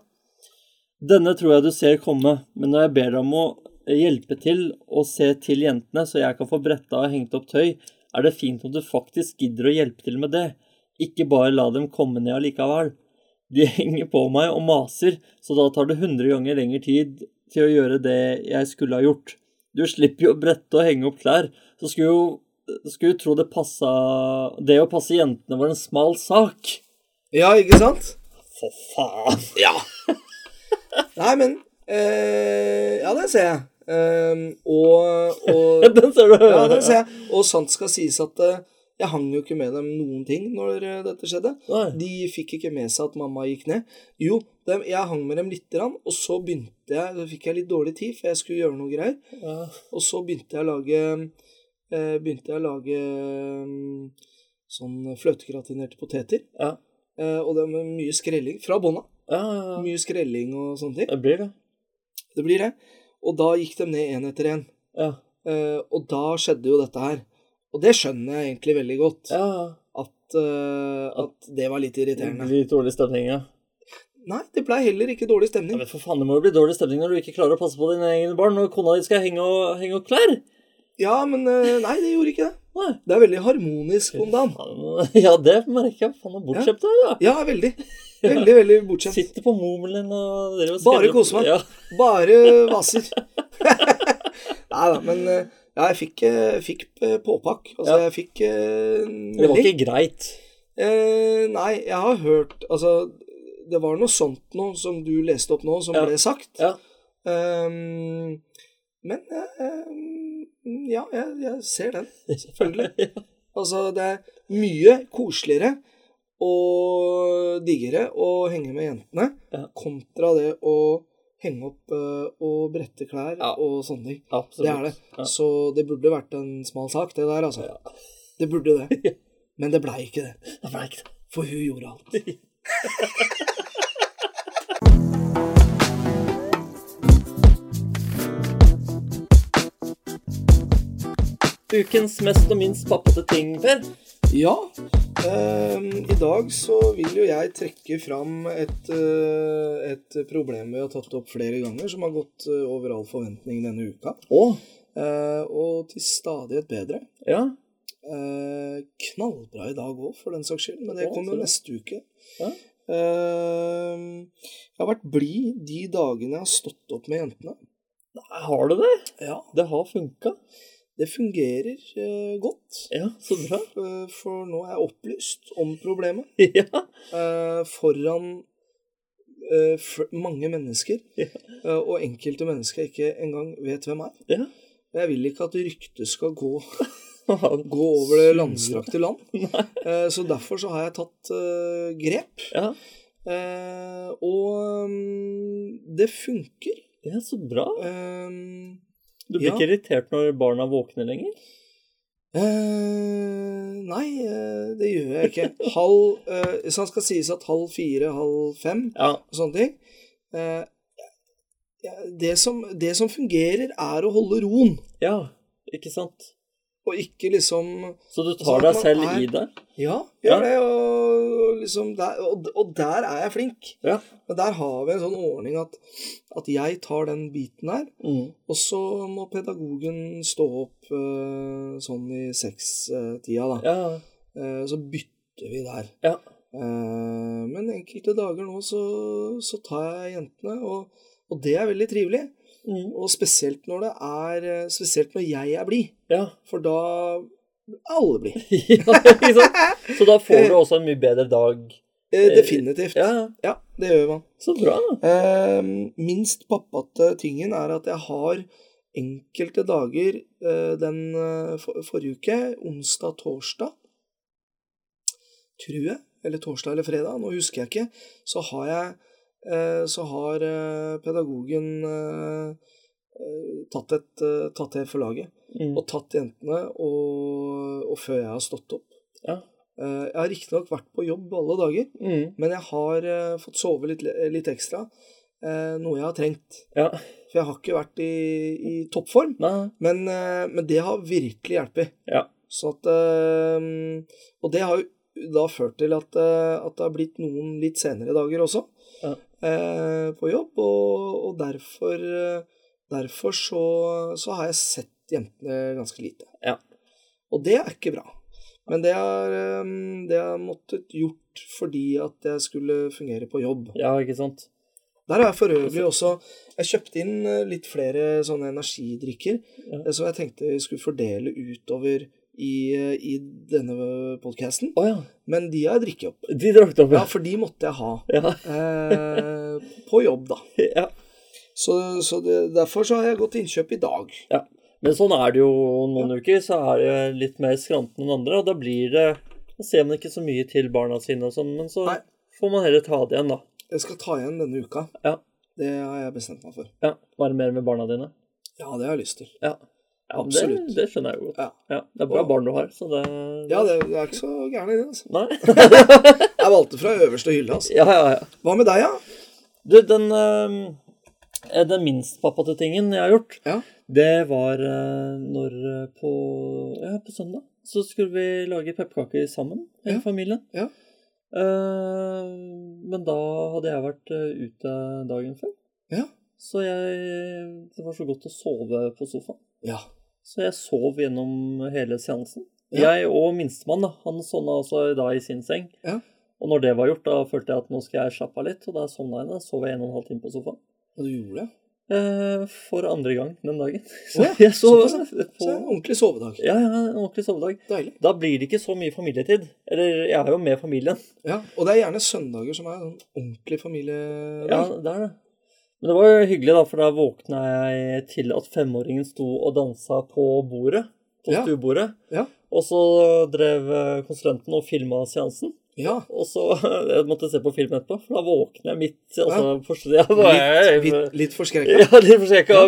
S2: Denne tror jeg du ser komme, men når jeg ber deg om å hjelpe til og se til jentene, så jeg kan få bretta og hengt opp tøy, er det fint om du faktisk gidder å hjelpe til med det. Ikke bare la dem komme ned allikevel. De henger på meg og maser, så da tar det 100 ganger lengre tid til å gjøre det jeg skulle ha gjort. Du slipper jo å brette og henge opp klær, så skulle jo, skulle jo tro det passa Det å passe jentene var en smal sak.
S1: Ja, ikke sant?
S2: For faen!
S1: Ja. Nei, men eh, Ja, den ser jeg. Ehm, og, og
S2: Den ser du.
S1: Ja, den ser jeg. Og sant skal sies at eh, jeg hang jo ikke med dem noen ting når eh, dette skjedde.
S2: Nei.
S1: De fikk ikke med seg at mamma gikk ned. Jo, dem, jeg hang med dem lite grann, og så begynte jeg, da fikk jeg litt dårlig tid, for jeg skulle gjøre noe greier.
S2: Ja.
S1: Og så begynte jeg å lage eh, Begynte jeg å lage mm, sånn fløtegratinerte poteter.
S2: Ja.
S1: Eh, og det er mye skrelling fra bånda.
S2: Ja, ja, ja.
S1: Mye skrelling og sånne ting.
S2: Det blir det.
S1: Det blir det. Og da gikk de ned én etter én.
S2: Ja.
S1: Eh, og da skjedde jo dette her. Og det skjønner jeg egentlig veldig godt.
S2: ja. ja.
S1: At, eh, at det var litt
S2: Det
S1: irriterende.
S2: blir dårlig stemning, ja.
S1: Nei, det blei heller ikke dårlig
S2: Ja,
S1: stemning.
S2: men for faen, Det må jo bli dårlig stemning når du ikke klarer å passe på dine egne barn når kona di skal henge og, henge og klær.
S1: Ja, men eh, Nei, det gjorde ikke det.
S2: Nei.
S1: Det er veldig harmonisk om dagen.
S2: Faen, Ja, det merker jeg. Faen, så bortskjemt du er, da.
S1: Ja, veldig. Veldig, veldig bortskjemt.
S2: Sitter på mobilen din og driver og
S1: Bare
S2: skreller.
S1: kose meg.
S2: Ja.
S1: Bare vaser. Nei da, men eh, ja, jeg fikk, eh, fikk eh, påpakk. Altså,
S2: Ja.
S1: jeg fikk eh, en
S2: Det var
S1: melding.
S2: ikke greit.
S1: Eh, nei, jeg har hørt Altså, det var noe sånt nå som du leste opp nå, som
S2: Ja.
S1: ble sagt.
S2: Ja.
S1: Ehm, men eh, eh, ja, jeg, jeg ser den, selvfølgelig. Altså, det er mye koseligere og diggere å henge med jentene
S2: Ja.
S1: kontra det å henge opp eh, og brette klær
S2: Ja.
S1: og sånne ting.
S2: Absolutt.
S1: Det er det.
S2: Ja.
S1: Så det burde vært en smal sak, det der, altså. Det burde det. Men det blei ikke det.
S2: Det er ikke det.
S1: For hun gjorde alt.
S2: Ukens mest og minst pappete ting, Per.
S1: Ja, ehm, i dag så vil jo jeg trekke fram et, eh, et problem vi har tatt opp flere ganger, som har gått eh, over all forventning denne uka.
S2: Å?
S1: Eh, og til stadighet bedre.
S2: Ja.
S1: Eh, knallbra i dag òg, for den saks skyld, men det
S2: Ja,
S1: kommer
S2: så
S1: jo
S2: bra.
S1: neste uke.
S2: Ja.
S1: Eh, jeg har vært blid de dagene jeg har stått opp med jentene.
S2: Nei, Har du det?
S1: Ja,
S2: Det har funka.
S1: Det fungerer eh, godt,
S2: Ja, så bra.
S1: eh, for nå er jeg opplyst om problemet
S2: Ja.
S1: eh, foran eh, fl- mange mennesker,
S2: Ja.
S1: eh, og enkelte mennesker jeg ikke engang vet hvem er.
S2: Ja.
S1: Men jeg vil ikke at ryktet skal gå,
S2: Faen.
S1: gå over det langstrakte land.
S2: Nei.
S1: Eh, Så derfor så har jeg tatt eh, grep.
S2: Ja.
S1: Eh, Og mm, det funker.
S2: ja, så bra.
S1: Eh,
S2: Du blir
S1: Ja.
S2: ikke irritert når barna våkner lenger?
S1: Eh, nei, eh, det gjør jeg ikke. Halv eh, Så han skal sies at halv fire, halv fem
S2: Ja.
S1: og sånne ting. Eh, ja, det, som, det som fungerer, er å holde roen,
S2: ja. Ikke sant?
S1: og ikke liksom
S2: Så du
S1: Så at
S2: tar deg
S1: man
S2: selv
S1: er-
S2: i det?
S1: Ja,
S2: Ja.
S1: gjør det, og, og liksom der, og, og der er jeg flink.
S2: Ja.
S1: Men der har vi en sånn ordning at, at jeg tar den biten der,
S2: Mm.
S1: og så må pedagogen stå opp eh, sånn i sekstida, da.
S2: Ja.
S1: Eh, Så bytter vi der.
S2: Ja.
S1: Eh, Men enkelte dager nå så, så tar jeg jentene, og, og det er veldig trivelig.
S2: Mm.
S1: Og spesielt når det er eh, Spesielt når jeg er blid,
S2: ja.
S1: for da er alle blid.
S2: ja ikke sant? Så da får du også en mye bedre dag?
S1: Eh, Definitivt.
S2: Ja.
S1: Ja, det gjør man.
S2: Så bra.
S1: Eh, Minst pappate tingen er at jeg har enkelte dager eh, den eh, for, forrige uke, onsdag, torsdag, tror jeg, eller torsdag eller fredag, nå husker jeg ikke, så har jeg eh, så har eh, pedagogen eh, eh, tatt, et, eh, tatt det for laget,
S2: Mm.
S1: og tatt jentene, og, og før jeg har stått opp.
S2: Ja.
S1: Eh, jeg har riktignok vært på jobb alle dager,
S2: Mm.
S1: men jeg har eh, fått sove litt, litt ekstra, eh, noe jeg har trengt.
S2: Ja.
S1: For jeg har ikke vært i, i toppform,
S2: Nei.
S1: men, eh, men det har virkelig hjulpet.
S2: Ja.
S1: Så at, eh, og det har jo da ført til at, eh, at det har blitt noen litt senere dager også
S2: Ja.
S1: eh, på jobb, og, og derfor, eh, derfor så, så har jeg sett jentene ganske lite.
S2: Ja.
S1: Og det er ikke bra. Men det har eh, det har jeg måttet gjort fordi at jeg skulle fungere på jobb.
S2: Ja, ikke sant?
S1: Der har jeg for øvrig også Jeg kjøpte inn eh, litt flere sånne energidrikker
S2: Ja.
S1: eh, som jeg tenkte vi skulle fordele utover i, eh, i denne podkasten.
S2: Å ja.
S1: Men de har jeg drikket opp.
S2: De drakk det opp,
S1: Ja, for de måtte jeg ha.
S2: ja.
S1: Eh, på jobb, da.
S2: ja. ja.
S1: Så, så det, derfor så har jeg gått til innkjøp i dag.
S2: Men sånn er det jo noen uker, så er det litt mer skranten enn andre, og da blir det Da ser man ikke så mye til barna sine og sånn, men så
S1: Nei.
S2: får man heller ta det igjen, da.
S1: Jeg skal ta igjen denne uka.
S2: Ja.
S1: Det har jeg bestemt meg for.
S2: Ja, Være mer med barna dine.
S1: Ja, det har jeg lyst til.
S2: Ja. ja men
S1: Absolutt.
S2: Det, det skjønner jeg jo godt.
S1: Ja.
S2: Ja, det er bra
S1: Og-
S2: barn du har, så det
S1: Ja, det, det er ikke så gærent, det. altså.
S2: Nei?
S1: Jeg valgte fra øverste hylle. altså.
S2: Ja, ja, ja.
S1: Hva med deg, da?
S2: Du, den, eh, den minst pappate tingen jeg har gjort,
S1: Ja?
S2: det var eh, når eh, på, ja, på søndag så skulle vi lage pepperkaker sammen, hele
S1: Ja.
S2: familien.
S1: Ja.
S2: Eh, men da hadde jeg vært eh, ute dagen før,
S1: Ja.
S2: så jeg, det var så godt å sove på sofaen.
S1: Ja.
S2: Så jeg sov gjennom hele seansen.
S1: Ja.
S2: Jeg og minstemann, da, han sovna altså da i sin seng.
S1: Ja.
S2: Og når det var gjort, da følte jeg at nå skal jeg slappe av litt, og da sovna jeg. Da sov jeg en og en halv time på sofaen.
S1: Og du gjorde det?
S2: Eh, for andre gang den dagen.
S1: Å ja,
S2: jeg sov
S1: såpass, Så det er en
S2: på
S1: ordentlig sovedag.
S2: ja, ja, en ordentlig sovedag.
S1: Deilig.
S2: Da blir det ikke så mye familietid. Eller jeg er jo med familien.
S1: Ja, Og det er gjerne søndager som er en sånn ordentlig familiedag.
S2: Ja, det er det. Men det var jo hyggelig, da, for da våkna jeg til at femåringen sto og dansa på bordet. På
S1: Ja.
S2: stuebordet.
S1: Ja.
S2: Og så drev eh, konsulenten og filma seansen.
S1: Ja.
S2: Og så jeg måtte se på film etterpå, for da våkner jeg midt altså,
S1: Ja.
S2: forst- ja, da er
S1: Litt,
S2: jeg-
S1: litt, litt forskrekka.
S2: Ja, litt forsinka.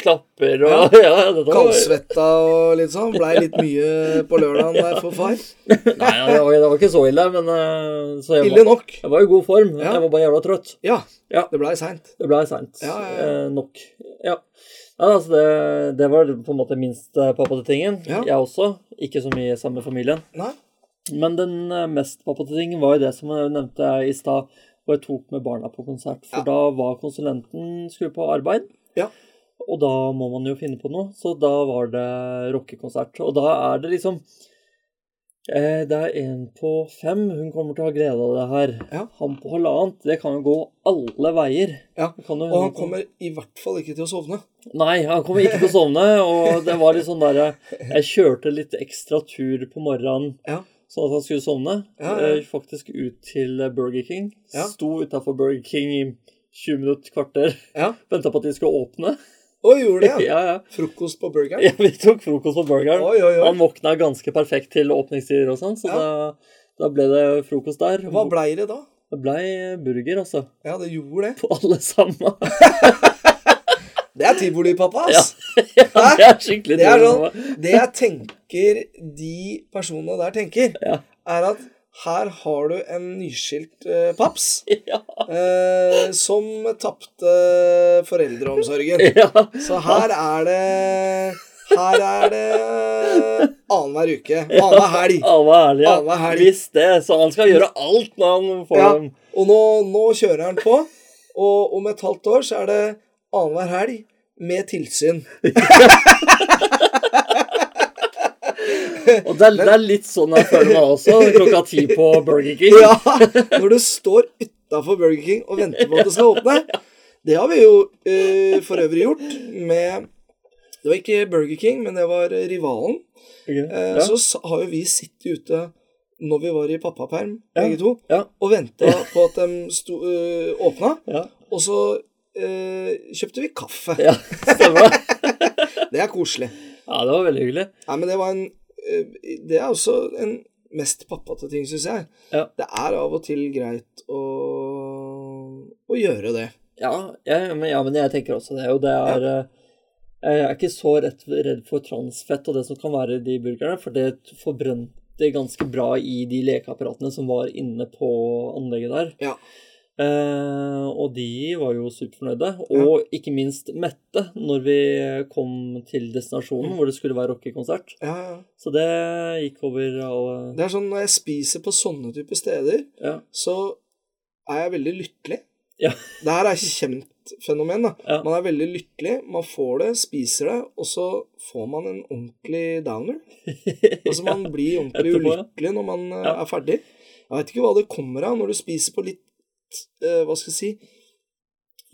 S2: Klapper og ja. dette var-
S1: Kaldsvetta og litt sånn. Blei litt mye på lørdagen der for far.
S2: Nei, ja, det var, det var ikke så ille, men eh, så jeg,
S1: Ille
S2: var,
S1: nok.
S2: jeg var i god form.
S1: Ja.
S2: Jeg var bare jævla trøtt.
S1: Ja.
S2: Ja.
S1: Det blei seint.
S2: Det ble seint
S1: Ja, ja, ja.
S2: eh, nok. Ja. Nei, altså det, det var på en måte minst eh, pappate tingen.
S1: Ja.
S2: Jeg også. Ikke så mye sammen med familien.
S1: Nei.
S2: Men den eh, mest pappate tingen var jo det som jeg nevnte i stad, hvor jeg tok med barna på konsert. For
S1: Ja.
S2: da var konsulenten skulle på arbeid.
S1: Ja.
S2: Og da må man jo finne på noe, så da var det rockekonsert. Og da er det liksom eh, Det er en på fem, hun kommer til å ha glede av det her.
S1: Ja.
S2: Han på halvannet, det kan jo gå alle veier.
S1: Ja.
S2: Det kan jo
S1: Og han kommer i hvert fall ikke til å sovne.
S2: Nei, han kommer ikke til å sovne. Og det var litt sånn der Jeg kjørte litt ekstra tur på morgenen
S1: Ja.
S2: sånn at han skulle sovne.
S1: Ja, ja.
S2: Eh, Faktisk ut til eh, Burger King.
S1: Ja.
S2: Sto utafor Burger King i 20 minutter, kvarter.
S1: Ja.
S2: Venta på at de skulle åpne.
S1: Å, gjorde det? ja.
S2: Ja, ja.
S1: Frokost på burgeren?
S2: ja. Vi tok frokost på burgeren.
S1: Oi, oi, oi.
S2: Han våkna ganske perfekt til åpningstider og sånn, så
S1: Ja.
S2: da, da ble det frokost der.
S1: Hva blei det da?
S2: Det blei burger, altså.
S1: Ja, det gjorde det.
S2: På alle sammen.
S1: Det er tivoli, pappa.
S2: Ja.
S1: ass.
S2: Ja, det er skikkelig
S1: Det er sånn.
S2: trivelig.
S1: Det jeg tenker de personene der tenker,
S2: Ja.
S1: er at her har du en nyskilt eh, paps
S2: Ja.
S1: eh, som tapte foreldreomsorgen.
S2: ja.
S1: Så her er det Her er det eh, annenhver uke. Annenhver helg.
S2: Alle er ærlige.
S1: Alle er herlige.
S2: Hvis det. Så han skal gjøre alt når han får
S1: Ja.
S2: dem.
S1: Og nå, nå kjører han på, og om et halvt år så er det annenhver helg med tilsyn.
S2: Og det er, det er litt sånn jeg føler meg også. Klokka ti på Burger King.
S1: Ja! Når du står utafor Burger King og venter på at det skal åpne. Det har vi jo eh, for øvrig gjort med Det var ikke Burger King, men det var eh, rivalen.
S2: Ok,
S1: Eh,
S2: ja.
S1: Så s- har jo vi sittet ute når vi var i pappaperm,
S2: Ja,
S1: begge to,
S2: ja.
S1: og venta på at de sto, eh, åpna.
S2: Ja.
S1: Og så eh, kjøpte vi kaffe.
S2: ja, stemmer det.
S1: Det er koselig.
S2: Ja, det var veldig hyggelig.
S1: Nei, men det var en eh, Det er også en mest pappate ting, syns jeg.
S2: Ja.
S1: Det er av og til greit å, å gjøre det.
S2: Ja, jeg, men, ja, men jeg tenker også det. Og det er eh, Jeg er ikke så rett, redd for transfett og det som kan være i de burgerne, for det forbrente ganske bra i de lekeapparatene som var inne på anlegget der.
S1: Ja.
S2: Eh, og de var jo superfornøyde, og ikke minst mette når vi kom til destinasjonen
S1: Mm.
S2: hvor det skulle være rockekonsert.
S1: Ja, ja.
S2: Så det gikk over alle
S1: Det er sånn når jeg spiser på sånne typer steder,
S2: Ja.
S1: så er jeg veldig lykkelig.
S2: Ja.
S1: Det her er et kjent fenomen, da.
S2: Ja.
S1: Man er veldig lykkelig, man får det, spiser det, og så får man en ordentlig downer. Altså man blir ordentlig
S2: etterpå, ja.
S1: ulykkelig når man eh,
S2: Ja.
S1: er ferdig. Jeg veit ikke hva det kommer av når du spiser på litt eh, Hva skal jeg si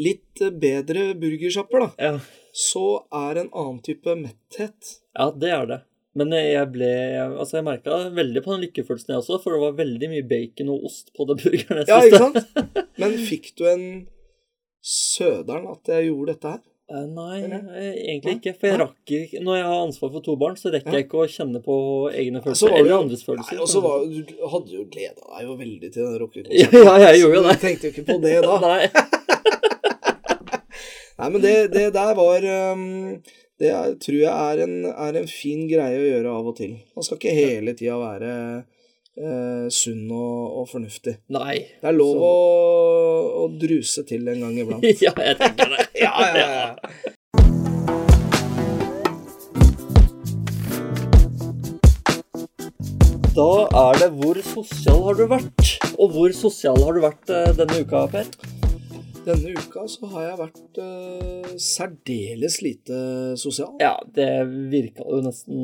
S1: Litt eh, bedre burgersjapper, da.
S2: ja.
S1: Så er en annen type metthet.
S2: ja, det er det. Men eh, jeg ble jeg, Altså, jeg merka veldig på den lykkefølelsen, jeg også, for det var veldig mye bacon og ost på det burgeren. jeg
S1: Ja,
S2: spiste.
S1: ikke sant? Men fikk du en søderen at jeg gjorde dette her?
S2: Eh, Nei,
S1: Eller?
S2: eh, egentlig
S1: Nei?
S2: ikke. For jeg
S1: Nei?
S2: rakk ikke Når jeg har ansvar for to barn, så rekker
S1: Ja.
S2: jeg ikke å kjenne på egne
S1: så
S2: følelser
S1: var
S2: eller
S1: det-
S2: andres følelser.
S1: Nei, og så var- du hadde jo gleda deg jo veldig til den
S2: ja,
S1: rockekonserten.
S2: ja, jeg gjorde jo
S1: Du
S2: det.
S1: tenkte jo ikke på det da.
S2: Nei.
S1: Nei, men det, det der var um, Det er- tror jeg er en, er en fin greie å gjøre av og til. Man skal ikke hele tida være eh, sunn og, og fornuftig.
S2: Nei.
S1: Det er lov å, å druse til en gang iblant.
S2: Ja, jeg tenker det.
S1: Ja, ja, ja.
S2: Da er det 'Hvor sosial har du vært?' Og hvor sosial har du vært eh, denne uka, Per?
S1: Denne uka så har jeg vært eh, særdeles lite sosial.
S2: Ja, det virka jo nesten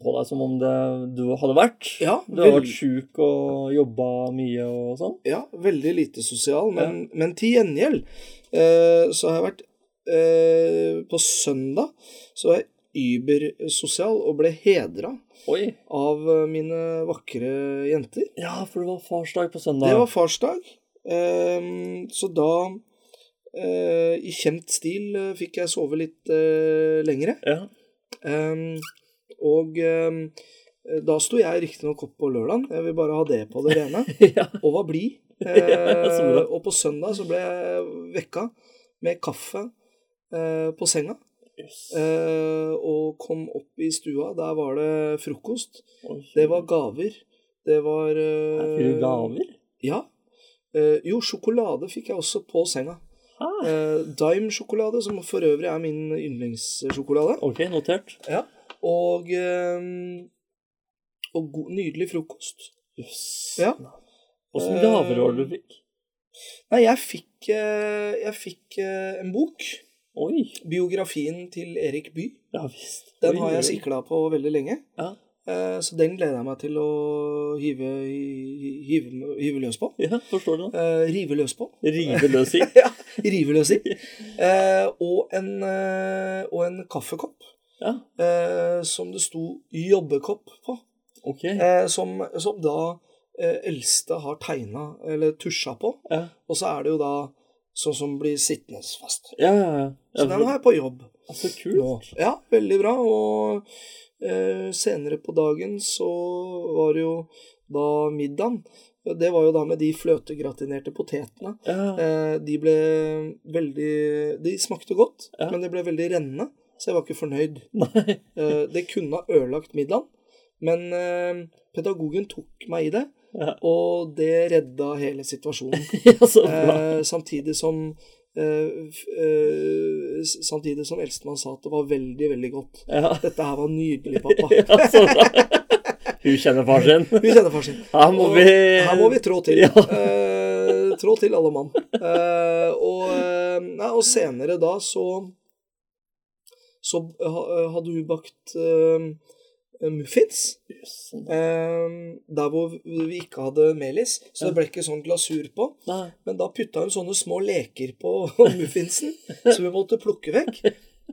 S2: på deg som om det, du hadde vært.
S1: Ja,
S2: Du har
S1: vel-
S2: vært sjuk og jobba mye og sånn.
S1: Ja, veldig lite sosial, men, men til gjengjeld eh, så har jeg vært eh, På søndag så var jeg übersosial og ble hedra
S2: Oi.
S1: av eh, mine vakre jenter.
S2: Ja, for det var farsdag på søndag.
S1: Det var farsdag, eh, så da eh, i kjent stil eh, fikk jeg sove litt eh, lengre.
S2: ja.
S1: Ehm, og ehm, da sto jeg riktignok opp på lørdagen, jeg vil bare ha det på det rene,
S2: ja.
S1: og var blid.
S2: Ja, så bra.
S1: Eh, og på søndag så ble jeg vekka med kaffe eh, på senga, eh, og kom opp i stua. Der var det frokost, det var gaver, det var eh,
S2: Fikk du gaver?
S1: Ja. Eh, jo, sjokolade fikk jeg også på senga.
S2: Ah.
S1: Eh, Dime-sjokolade, som for øvrig er min yndlingssjokolade.
S2: Ok, notert.
S1: Og, eh, og god, nydelig frokost.
S2: Jøss.
S1: Ja. Eh,
S2: Åssen gaver var det du fikk?
S1: Nei, jeg fikk, eh, jeg fikk eh, en bok.
S2: Oi.
S1: Biografien til Erik Bye.
S2: Ja visst.
S1: Den
S2: Oi,
S1: har jeg
S2: oi.
S1: sikla på veldig lenge.
S2: Ja.
S1: Eh, Så den gleder jeg meg til å hive, hi- hive, hive løs på.
S2: Ja, forstår du nå.
S1: Eh, rive løs på.
S2: Rive løs i.
S1: ja, rive løs i. Eh, og, en, eh, og en kaffekopp
S2: Ja,
S1: eh, som det sto 'jobbekopp' på.
S2: ok.
S1: eh, som, som da eh, eldste har tegna eller tusja på.
S2: Ja,
S1: Og så er det jo da sånn som blir sittende fast.
S2: ja, ja. ja.
S1: Så den har jeg på jobb.
S2: Så kult.
S1: nå. Ja, veldig bra. Og eh, senere på dagen så var det jo da middagen. Det var jo da med de fløtegratinerte potetene.
S2: Ja.
S1: Eh, de ble veldig De smakte godt,
S2: Ja.
S1: men de ble veldig rennende, så jeg var ikke fornøyd.
S2: Nei.
S1: Eh, det kunne ha ødelagt middagen, men eh, pedagogen tok meg i det,
S2: Ja.
S1: og det redda hele situasjonen.
S2: Ja, så bra.
S1: Eh, samtidig som eh, f- eh, s- Samtidig som eldstemann sa at det var veldig, veldig godt.
S2: Ja.
S1: Dette her var nydelig, pappa.
S2: ja, så bra. Altså, Hun kjenner far sin.
S1: Vi kjenner far sin.
S2: Her må
S1: Og
S2: vi
S1: Her må vi trå til.
S2: Ja.
S1: Eh, trå til, alle mann. Eh, og, eh, nei, og senere da så Så ha- hadde hun bakt eh, muffins.
S2: Jøssen.
S1: Eh, der hvor vi ikke hadde melis, så det ble ikke sånn glasur på.
S2: Nei.
S1: Men da putta hun sånne små leker på muffinsen, som vi måtte plukke vekk.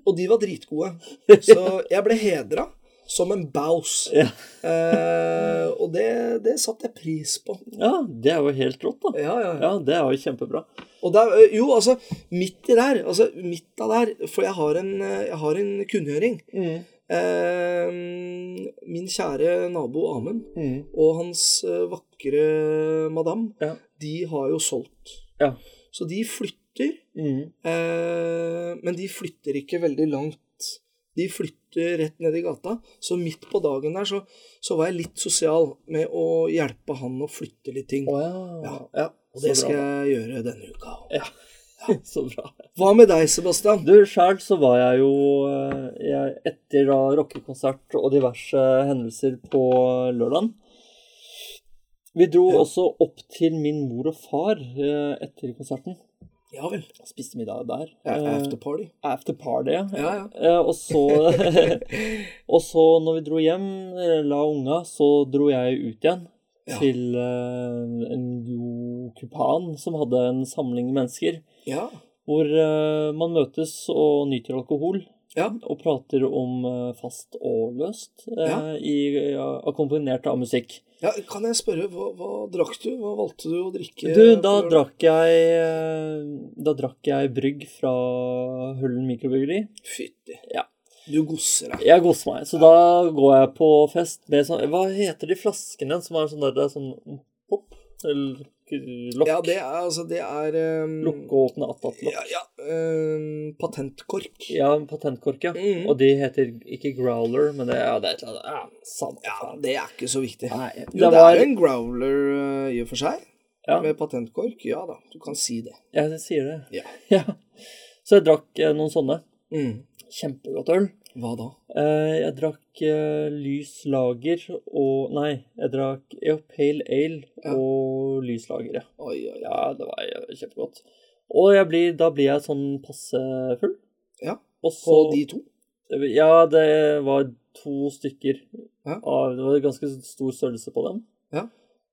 S1: Og de var dritgode. Så jeg ble hedra som en baus.
S2: Ja.
S1: Eh, og det, det satte jeg pris på.
S2: ja, det er jo helt rått, da.
S1: Ja, ja, ja.
S2: Ja, det er jo kjempebra.
S1: Og der, jo, altså, midt i der, altså midt av der, for jeg har en, eh, jeg har en kunngjøring.
S2: Mm.
S1: Eh, min kjære nabo Amund
S2: Mm.
S1: og hans eh, vakre madam,
S2: Ja.
S1: de har jo solgt.
S2: Ja.
S1: Så de flytter,
S2: Mm.
S1: eh, men de flytter ikke veldig langt. De flytter rett ned i gata, så midt på dagen der så, så var jeg litt sosial med å hjelpe han å flytte litt ting.
S2: Å, ja.
S1: Ja.
S2: ja.
S1: Og det
S2: så
S1: skal
S2: bra.
S1: jeg gjøre denne uka.
S2: jeg. Så bra.
S1: Hva med deg, Sebastian?
S2: Du, sjæl så var jeg jo eh, jeg, Etter da rockekonsert og diverse hendelser på lørdagen Vi dro
S1: Ja.
S2: også opp til min mor og far eh, etter konserten.
S1: Ja vel.
S2: Spiste middag der.
S1: Jeg
S2: Eh,
S1: er after party.
S2: after party, ja.
S1: Ja, ja.
S2: Eh, og så Og så når vi dro hjem, eh, la unga, så dro jeg ut igjen
S1: Ja.
S2: til eh, en god kupan som hadde en samling mennesker.
S1: Ja.
S2: Hvor eh, man møtes og nyter alkohol.
S1: Ja.
S2: Og prater om eh, fast og løst. eh,
S1: Ja.
S2: i- ja, Akkompagnert av musikk.
S1: ja. Kan jeg spørre, hva, hva drakk du? Hva valgte du å drikke?
S2: Du, da
S1: på lørdag?
S2: drakk jeg eh, Da drakk jeg brygg fra Hullen mikrobryggeri.
S1: Fytti.
S2: Ja.
S1: Du gosser deg.
S2: Jeg koser meg. Så da går jeg på fest med sånn Hva heter de flaskene som er sånn der det er sånn pop? Eller lokk?
S1: Ja, det er altså Det er ehm,
S2: Lukke og åpne attatlock.
S1: ja, ja, ehm, Patentkork.
S2: Ja, patentkork, ja.
S1: Mhm.
S2: Og de heter ikke growler, men det, ja, det er et eller annet ja, Samme
S1: Ja,
S2: faen.
S1: det er ikke så viktig.
S2: Nei,
S1: Jo, det,
S2: det var
S1: er en growler eh, i og for seg,
S2: Ja,
S1: med patentkork. Ja da, du kan si det.
S2: jeg sier det.
S1: Ja.
S2: Ja. Så jeg drakk eh, noen sånne.
S1: Mm.
S2: Kjempegodt øl.
S1: Hva da?
S2: Eh, Jeg drakk eh, lys lager og Nei, jeg drakk ja, pale ale
S1: Ja.
S2: og lys lager, ja.
S1: Oi, oi, oi.
S2: Ja, det var jo kjempegodt. Og jeg blir, da blir jeg sånn passe full.
S1: Ja,
S2: Og så
S1: På de to?
S2: Ja, det var to stykker.
S1: Ja.
S2: Av, det var ganske stor størrelse på dem.
S1: Ja.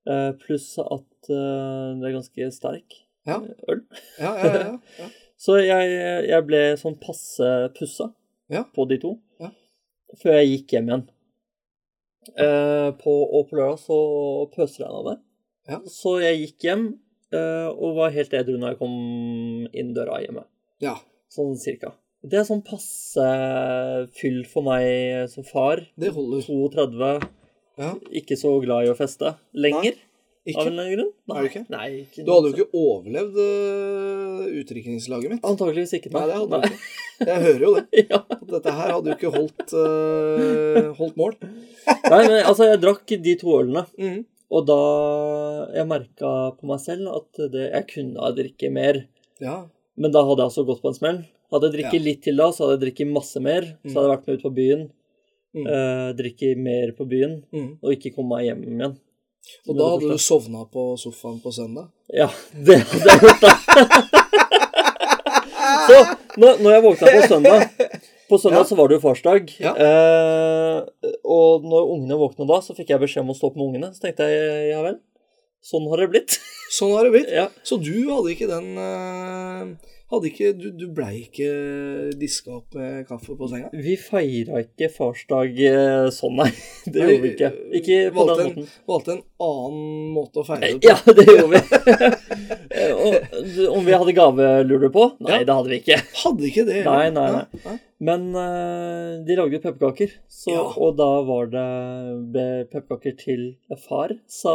S2: Eh, pluss at eh, det er ganske sterk eh,
S1: Ja.
S2: øl.
S1: Ja, ja, ja. ja.
S2: Så jeg, jeg ble sånn passe pussa
S1: Ja.
S2: på de to.
S1: Ja.
S2: Før jeg gikk hjem igjen. Eh, på, og på lørdag så pøsregna det.
S1: Ja.
S2: Så jeg gikk hjem eh, og var helt edru når jeg kom inn døra hjemme.
S1: ja.
S2: Sånn cirka. Det er sånn passe fyll for meg som far.
S1: Det holder.
S2: 32,
S1: Ja.
S2: ikke så glad i å feste lenger. Av en
S1: Ikke?
S2: eller annen grunn.
S1: Er du ikke?
S2: Nei, ikke
S1: Du hadde jo ikke overlevd uh, utdrikningslaget mitt.
S2: Antakeligvis ikke.
S1: Nei, det hadde du ikke. Jeg hører jo det.
S2: ikke. ja.
S1: at Dette her hadde jo ikke holdt, eh, holdt mål.
S2: Nei, men altså, jeg drakk de to ølene.
S1: Mm.
S2: Og da jeg merka på meg selv at det, jeg kunne ha drikke mer.
S1: Ja.
S2: Men da hadde jeg altså gått på en smell. Hadde jeg drikket
S1: Ja.
S2: litt til da, så hadde jeg drikket masse mer.
S1: Mm.
S2: Så hadde jeg vært med ut på byen,
S1: Mm.
S2: eh, drikket mer på byen,
S1: Mm.
S2: og ikke kommet meg hjem igjen.
S1: Og da hadde du sovna på sofaen på søndag?
S2: Ja, det hadde jeg gjort, da. så når, når jeg våkna på søndag På søndag
S1: Ja.
S2: så var det jo farsdag.
S1: Ja.
S2: Eh, og når ungene våkna da, så fikk jeg beskjed om å stå opp med ungene. Så tenkte jeg ja vel, sånn har det blitt.
S1: Sånn har det blitt.
S2: ja.
S1: Så du hadde ikke den eh, hadde ikke Du, du blei ikke diska opp med kaffe på senga?
S2: Vi feira ikke farsdag eh, sånn, nei. Det gjorde vi ikke. Ikke på
S1: valgte
S2: den
S1: en,
S2: måten.
S1: Valgte en annen måte å feire det på.
S2: Ja, det gjorde vi. Eh, Og, du, om vi hadde gavelurer på? Nei,
S1: Ja.
S2: det hadde vi ikke.
S1: Hadde ikke det.
S2: Nei, nei,
S1: nei.
S2: Men eh, de lagde pepperkaker, så,
S1: Ja.
S2: og da var det be- pepperkaker til far, sa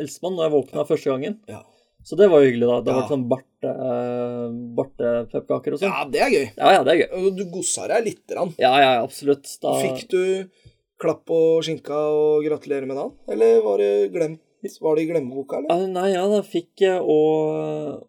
S2: Elsemann når jeg våkna første gangen.
S1: Ja.
S2: Så det var jo hyggelig, da. Det
S1: Ja.
S2: var sånn barte, eh, bartepepperkaker og sånn.
S1: Ja, det er gøy.
S2: Ja, ja, det er gøy.
S1: Og Du gossa deg lite grann.
S2: Ja, ja, absolutt. Da,
S1: Fikk du klapp på skinka og gratulerer med dagen, eller var det glemt? Var det i glemmeboka, eller?
S2: Ja, Nei, ja, da fikk jeg og,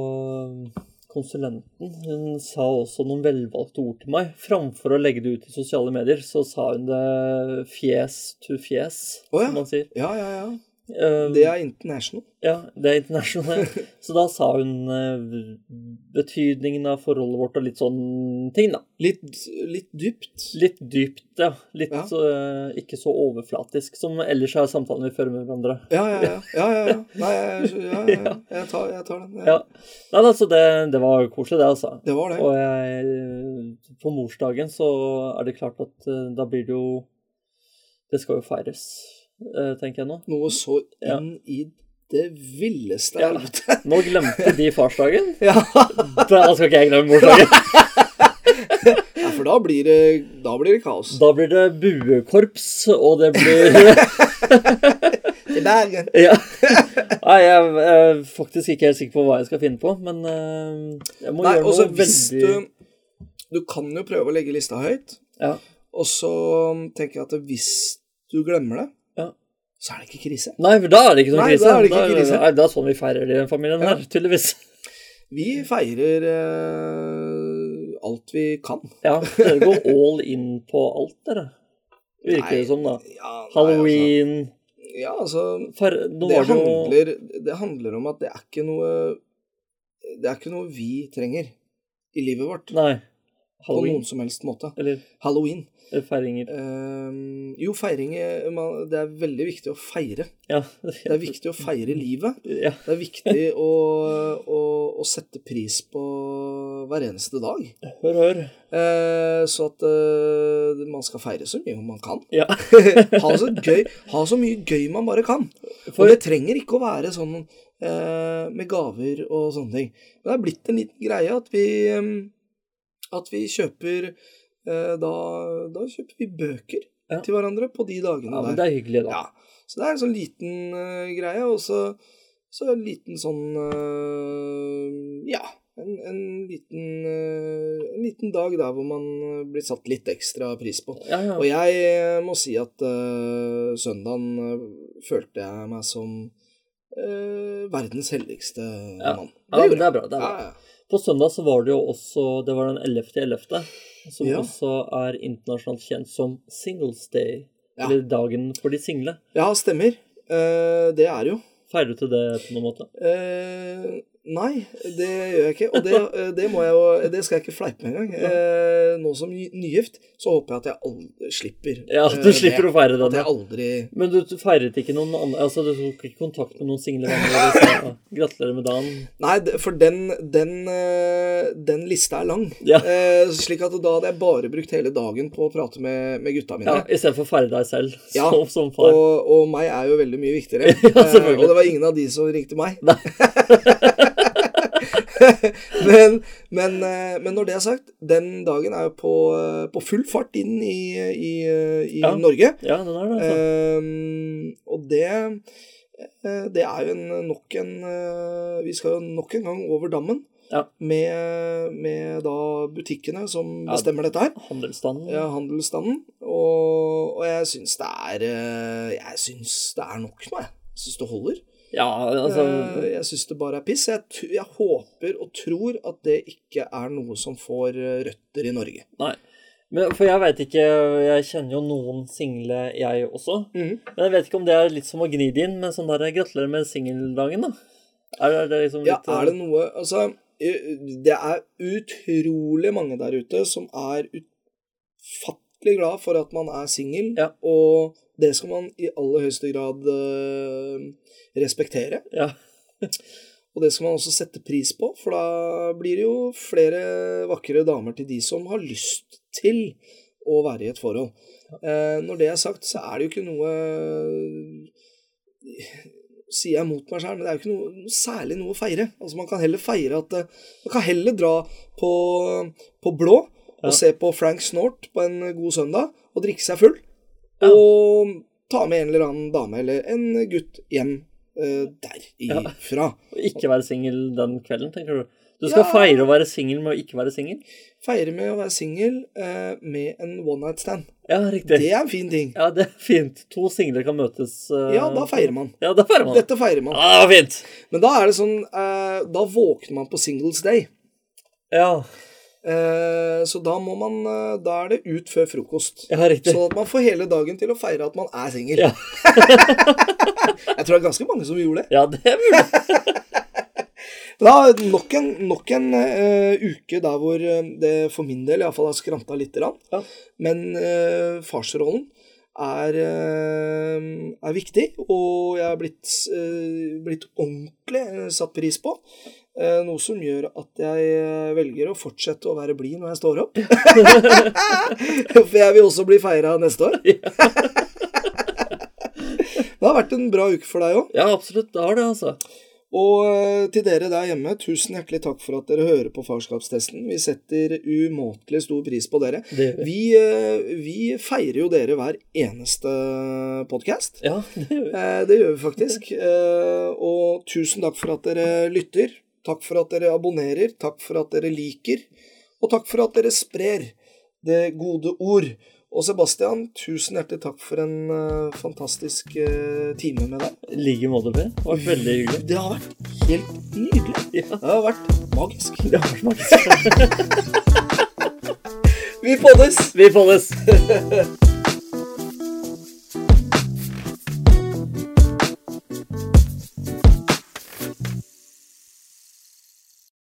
S2: og konsulenten Hun sa også noen velvalgte ord til meg. Framfor å legge det ut i sosiale medier, så sa hun det fjes to fjes,
S1: Å, ja.
S2: som man sier.
S1: Ja, ja, ja.
S2: Eh,
S1: Det er international.
S2: Ja, det er internasjonalt. Så da sa hun eh, betydningen av forholdet vårt og litt sånn ting, da.
S1: Litt, litt dypt.
S2: Litt dypt, ja. Litt
S1: Ja.
S2: eh, ikke så overflatisk som ellers er samtalen vi fører med hverandre.
S1: Ja, ja, ja. ja, ja, ja. Nei, jeg, ja, ja, ja. jeg, tar, jeg tar den.
S2: Ja. Nei, altså, det, det var koselig, det, altså.
S1: Det var det.
S2: Og jeg, eh, på morsdagen så er det klart at eh, da blir det jo Det skal jo feires, eh, tenker jeg nå.
S1: Noe så inn i det villeste
S2: Ja.
S1: helvete.
S2: Nå glemte de farsdagen.
S1: Ja.
S2: Da skal ikke jeg glemme morsdagen.
S1: ja, for da blir det, da blir det kaos.
S2: Da blir det buekorps, og det blir
S1: Til Bergen.
S2: Ja. Nei, jeg er faktisk ikke helt sikker på hva jeg skal finne på, men eh, jeg må
S1: Nei,
S2: gjøre
S1: og
S2: noe
S1: så hvis
S2: veldig
S1: du Du kan jo prøve å legge lista høyt,
S2: Ja.
S1: og så tenker jeg at hvis du glemmer det,
S2: Ja.
S1: så er det ikke krise.
S2: Nei, for da er det ikke sånn
S1: Nei,
S2: krise.
S1: da er det ikke krise.
S2: Nei, det er sånn vi feirer det i den familien her, tydeligvis.
S1: Vi feirer eh, alt vi kan.
S2: Ja, dere går all in på alt, dere. Virker
S1: Nei.
S2: det som, da.
S1: Ja, nei,
S2: Halloween
S1: Altså, ja, altså
S2: fer, Nå
S1: det
S2: var det sånn- jo
S1: handler, det handler om at det er ikke noe Det er ikke noe vi trenger i livet vårt
S2: Nei.
S1: på
S2: Halloween.
S1: noen som helst måte.
S2: Eller
S1: Halloween.
S2: eller feiringer.
S1: Eh, jo, feiring er- man- Det er veldig viktig å feire.
S2: Ja.
S1: Det er viktig å feire livet.
S2: Ja,
S1: Det er viktig å, å, å sette pris på hver eneste dag.
S2: hør, hør.
S1: Eh, så at eh, man skal feire så mye man kan.
S2: Ja.
S1: ha, så gøy, ha så mye gøy man bare kan.
S2: For-
S1: Og det trenger ikke å være sånn eh, med gaver og sånne ting. Men det er blitt en liten greie at vi, em, at vi kjøper eh, da, da kjøper vi bøker
S2: Ja.
S1: til hverandre på de dagene
S2: ja,
S1: der.
S2: men det er hyggelig, da.
S1: Ja. Så det er en sånn liten eh, greie, og så, så en liten sånn eh, Ja. En, en, liten, eh, en liten dag der hvor man eh, blir satt litt ekstra pris på.
S2: Ja, ja.
S1: Og jeg eh, må si at eh, søndagen eh, følte jeg meg som eh, verdens heldigste
S2: Ja.
S1: mann.
S2: Ja, men
S1: gjorde jeg.
S2: det er bra. Det er
S1: Ja,
S2: bra.
S1: ja.
S2: På søndag så var det jo også Det var den 11.11., som
S1: Ja.
S2: også er internasjonalt kjent som Singles Day.
S1: Ja.
S2: Eller dagen for de single.
S1: ja, stemmer. Eh, det er det jo.
S2: Feirer du til det på noen måte?
S1: Eh, nei, det gjør jeg ikke. Og det, eh, det, må jeg jo, det skal jeg ikke fleipe med engang. Eh, nå som ny- nygift, så håper jeg at jeg aldri slipper.
S2: Ja,
S1: eh,
S2: du slipper å feire
S1: det. At
S2: den.
S1: jeg
S2: ja.
S1: aldri
S2: Men du feiret ikke noen andre Altså, du tok ikke kontakt med noen single venner? og sa, Gratulerer med dagen.
S1: Nei, det- for den, den, eh, den lista er lang.
S2: Ja.
S1: Eh, slik at da hadde jeg bare brukt hele dagen på å prate med, med gutta mine.
S2: Ja, Istedenfor å feire deg selv
S1: Ja,
S2: som, som far.
S1: Og, og meg er jo veldig mye viktigere.
S2: selvfølgelig.
S1: Eh, og det var ingen av de som ringte meg. men, men, eh, men når det er sagt, den dagen er jo på, eh, på full fart inn i, i, eh, i
S2: Ja.
S1: Norge.
S2: Ja, den er det. Altså.
S1: Eh, og det eh, det er jo en, nok en eh, Vi skal jo nok en gang over dammen
S2: Ja.
S1: med, med da butikkene som
S2: Ja.
S1: bestemmer dette her.
S2: Handelsstanden.
S1: Ja, eh, handelsstanden. Og, og jeg syns det er eh, Jeg syns det er nok nå, jeg. Jeg syns det holder.
S2: Ja, altså
S1: Eh, jeg syns det bare er piss. Jeg, t jeg håper og tror at det ikke er noe som får eh, røtter i Norge.
S2: Nei. Men, for jeg veit ikke Jeg kjenner jo noen single, jeg også. Men jeg vet ikke om det er litt som å gni det inn, men sånn der gratulerer med singeldagen, da. Er det, er det liksom
S1: Ja,
S2: litt
S1: er det noe Altså, eh, det er utrolig mange der ute som er utfattelig glad for at man er singel,
S2: Ja.
S1: og det skal man i aller høyeste grad eh, respektere.
S2: Ja.
S1: Og det skal man også sette pris på, for da blir det jo flere vakre damer til de som har lyst til å være i et forhold. Eh, når det er sagt, så er det jo ikke noe eh, Sier jeg mot meg sjøl, men det er jo ikke noe, noe særlig noe å feire. Altså Man kan heller feire at eh, Man kan heller dra på, på blå
S2: Ja.
S1: og se på Frank Snort på en god søndag og drikke seg full.
S2: Ja.
S1: Og ta med en eller annen dame eller en gutt hjem eh, derifra.
S2: Og ikke være singel den kvelden, tenker du. Du skal
S1: Ja.
S2: feire å være singel med å ikke være singel?
S1: Feire med å være singel eh, med en one night stand.
S2: Ja,
S1: Det
S2: riktig.
S1: er en fin ting.
S2: Ja, det er fint. To singler kan møtes. eh,
S1: Ja, da feirer man.
S2: Ja, da feirer man.
S1: Dette feirer man.
S2: Ja, det var fint.
S1: Men da er det sånn eh, Da våkner man på singles day.
S2: Ja,
S1: Eh, så da må man eh, Da er det ut før frokost.
S2: ja riktig.
S1: Sånn at man får hele dagen til å feire at man er singel.
S2: Ja.
S1: Jeg tror det er ganske mange som gjorde det.
S2: Ja, det er mulig.
S1: Da Nok en, nok en eh, uke der hvor eh, det for min del iallfall har skranta lite grann.
S2: Ja.
S1: Men eh, farsrollen er, eh, er viktig, og jeg er blitt, eh, blitt ordentlig eh, satt pris på. Eh, noe som gjør at jeg eh, velger å fortsette å være blid når jeg står opp. For jeg vil også bli feira neste år. det har vært en bra uke for deg òg.
S2: Ja, absolutt. Det har det, altså.
S1: Og eh, til dere der hjemme, tusen hjertelig takk for at dere hører på Farskapstesten. Vi setter umåtelig stor pris på dere.
S2: Det gjør vi.
S1: Vi, eh, vi feirer jo dere hver eneste podkast.
S2: Ja, det gjør vi.
S1: Eh, Det gjør vi faktisk. Eh, Og tusen takk for at dere lytter. Takk for at dere abonnerer. Takk for at dere liker. Og takk for at dere sprer det gode ord. Og Sebastian, tusen hjertelig takk for en eh, fantastisk eh, time med deg.
S2: I like måte, Per. Det har vært veldig hyggelig.
S1: Det har vært helt nydelig.
S2: Ja,
S1: Det har vært magisk.
S2: det har smakt.
S1: Vi poddes!
S2: Vi foldes.